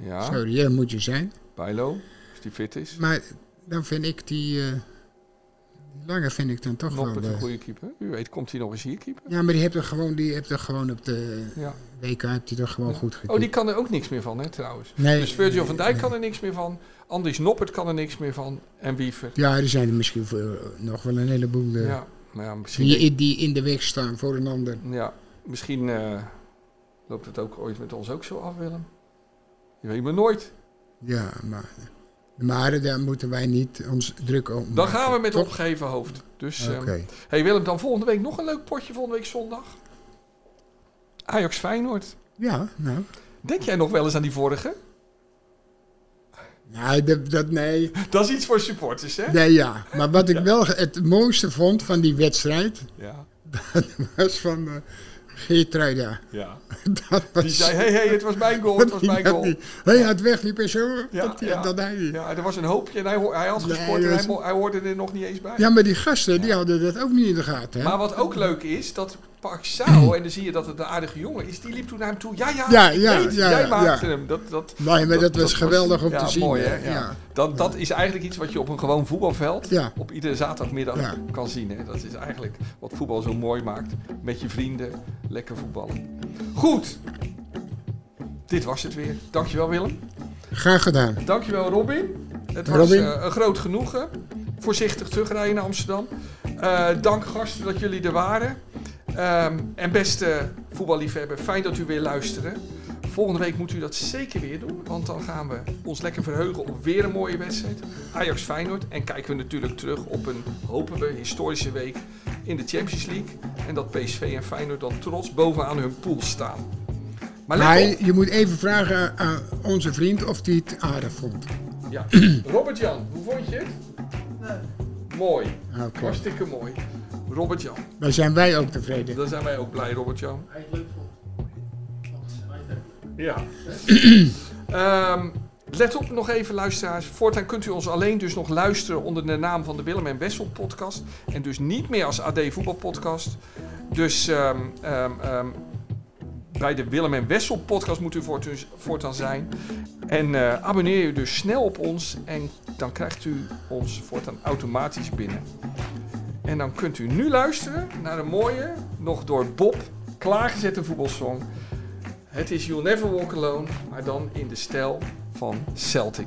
[SPEAKER 3] Ja,
[SPEAKER 2] Zo reëel moet je zijn.
[SPEAKER 3] Bijlo, als die fit is.
[SPEAKER 2] Maar dan vind ik die... eh die lange vind ik dan toch
[SPEAKER 3] Noppert
[SPEAKER 2] wel...
[SPEAKER 3] een
[SPEAKER 2] eh,
[SPEAKER 3] goede keeper. U weet, komt hij nog eens hier keeper?
[SPEAKER 2] ja, maar die hebt er gewoon, die hebt er gewoon op de
[SPEAKER 3] Ja.
[SPEAKER 2] WK hebt hij er gewoon goed gekeken.
[SPEAKER 3] Oh, die kan er ook niks meer van, hè, trouwens.
[SPEAKER 2] nee,
[SPEAKER 3] Dus Virgil van Dijk kan er niks meer van. Andries Noppert kan er niks meer van. En Wiever.
[SPEAKER 2] Ja, er zijn er misschien voor- nog wel een heleboel eh,
[SPEAKER 3] Ja, maar ja, misschien,
[SPEAKER 2] die, die in de weg staan voor een ander.
[SPEAKER 3] ja, misschien eh, loopt het ook ooit met ons ook zo af, Willem. Je weet maar nooit.
[SPEAKER 2] Ja, maar, maar daar moeten wij niet ons druk om
[SPEAKER 3] Dan
[SPEAKER 2] maken,
[SPEAKER 3] gaan we met
[SPEAKER 2] toch?
[SPEAKER 3] opgeheven hoofd. Dus,
[SPEAKER 2] Oké.
[SPEAKER 3] ehm, hey Willem, dan volgende week nog een leuk potje. Volgende week zondag. Ajax Feyenoord.
[SPEAKER 2] Ja, nou.
[SPEAKER 3] Denk jij nog wel eens aan die vorige?
[SPEAKER 2] Nee, Nou, dat, dat- nee.
[SPEAKER 3] Dat is iets voor supporters, hè?
[SPEAKER 2] nee ja. Maar wat ik wel het mooiste vond van die wedstrijd,
[SPEAKER 3] Ja.
[SPEAKER 2] dat was van eh Geertruida.
[SPEAKER 3] ja.
[SPEAKER 2] Dat was,
[SPEAKER 3] Die zei, hé, hey, hey, het was mijn goal, het was mijn
[SPEAKER 2] dat
[SPEAKER 3] goal.
[SPEAKER 2] die- hij had wegliep en zo.
[SPEAKER 3] Ja,
[SPEAKER 2] dat, die-
[SPEAKER 3] ja.
[SPEAKER 2] dat hij die- ja.
[SPEAKER 3] Ja, er was een hoopje en hij, ho- hij had
[SPEAKER 2] Nee,
[SPEAKER 3] gescoord en
[SPEAKER 2] dat
[SPEAKER 3] hij,
[SPEAKER 2] is-
[SPEAKER 3] mo- hij hoorde er nog niet eens bij.
[SPEAKER 2] maar die gasten, die hadden dat ook niet in de gaten. Hè?
[SPEAKER 3] Maar wat ook leuk is, dat Paxao, en dan zie je dat het een aardige jongen is, die liep toen naar hem toe. Ja, ja,
[SPEAKER 2] Ja,
[SPEAKER 3] ik
[SPEAKER 2] ja,
[SPEAKER 3] weet,
[SPEAKER 2] ja,
[SPEAKER 3] jij
[SPEAKER 2] ja.
[SPEAKER 3] maakte hem. Dat, dat,
[SPEAKER 2] Nee, maar dat was geweldig om
[SPEAKER 3] ja,
[SPEAKER 2] te zien,
[SPEAKER 3] Mooi, hè?
[SPEAKER 2] hè?
[SPEAKER 3] Ja.
[SPEAKER 2] Ja.
[SPEAKER 3] Dat, dat is eigenlijk iets wat je op een gewoon voetbalveld
[SPEAKER 2] Ja.
[SPEAKER 3] op iedere zaterdagmiddag
[SPEAKER 2] Ja.
[SPEAKER 3] kan zien. Hè? Dat is eigenlijk wat voetbal zo mooi maakt. Met je vrienden, lekker voetballen. Goed, dit was het weer. Dankjewel Willem.
[SPEAKER 2] Graag gedaan.
[SPEAKER 3] Dankjewel Robin. Het was
[SPEAKER 2] Robin.
[SPEAKER 3] eh, een groot genoegen. Voorzichtig terugrijden naar Amsterdam. Eh, dank gasten dat jullie er waren. Ehm, en beste voetballiefhebber, fijn dat u weer luisterde. Volgende week moet u dat zeker weer doen, want dan gaan we ons lekker verheugen op weer een mooie wedstrijd. Ajax Feyenoord en kijken we natuurlijk terug op een, hopen we, historische week in de Champions League. En dat PSV en Feyenoord dan trots bovenaan hun pool staan. Maar let
[SPEAKER 2] Maar
[SPEAKER 3] op.
[SPEAKER 2] je moet even vragen aan onze vriend of hij het aardig vond.
[SPEAKER 3] Ja. Robert-Jan, hoe vond je het? Mooi.
[SPEAKER 2] Oké.
[SPEAKER 3] Hartstikke mooi. Robert-Jan.
[SPEAKER 2] Dan zijn wij ook tevreden.
[SPEAKER 3] Daar zijn wij ook blij, Robert-Jan. Hij leuk vond. Ja. Ehm, let op nog even, luisteraars. Voortaan kunt u ons alleen dus nog luisteren onder de naam van de Willem en Wessel podcast. En dus niet meer als AD Voetbal podcast. Dus ehm, ehm, ehm, bij de Willem en Wessel podcast moet u voortaan, voortaan zijn. En eh, abonneer u dus snel op ons en dan krijgt u ons voortaan automatisch binnen. En dan kunt u nu luisteren naar een mooie, nog door Bob klaargezette voetbalsong. Het is You'll Never Walk Alone, maar dan in de stijl van Celtic.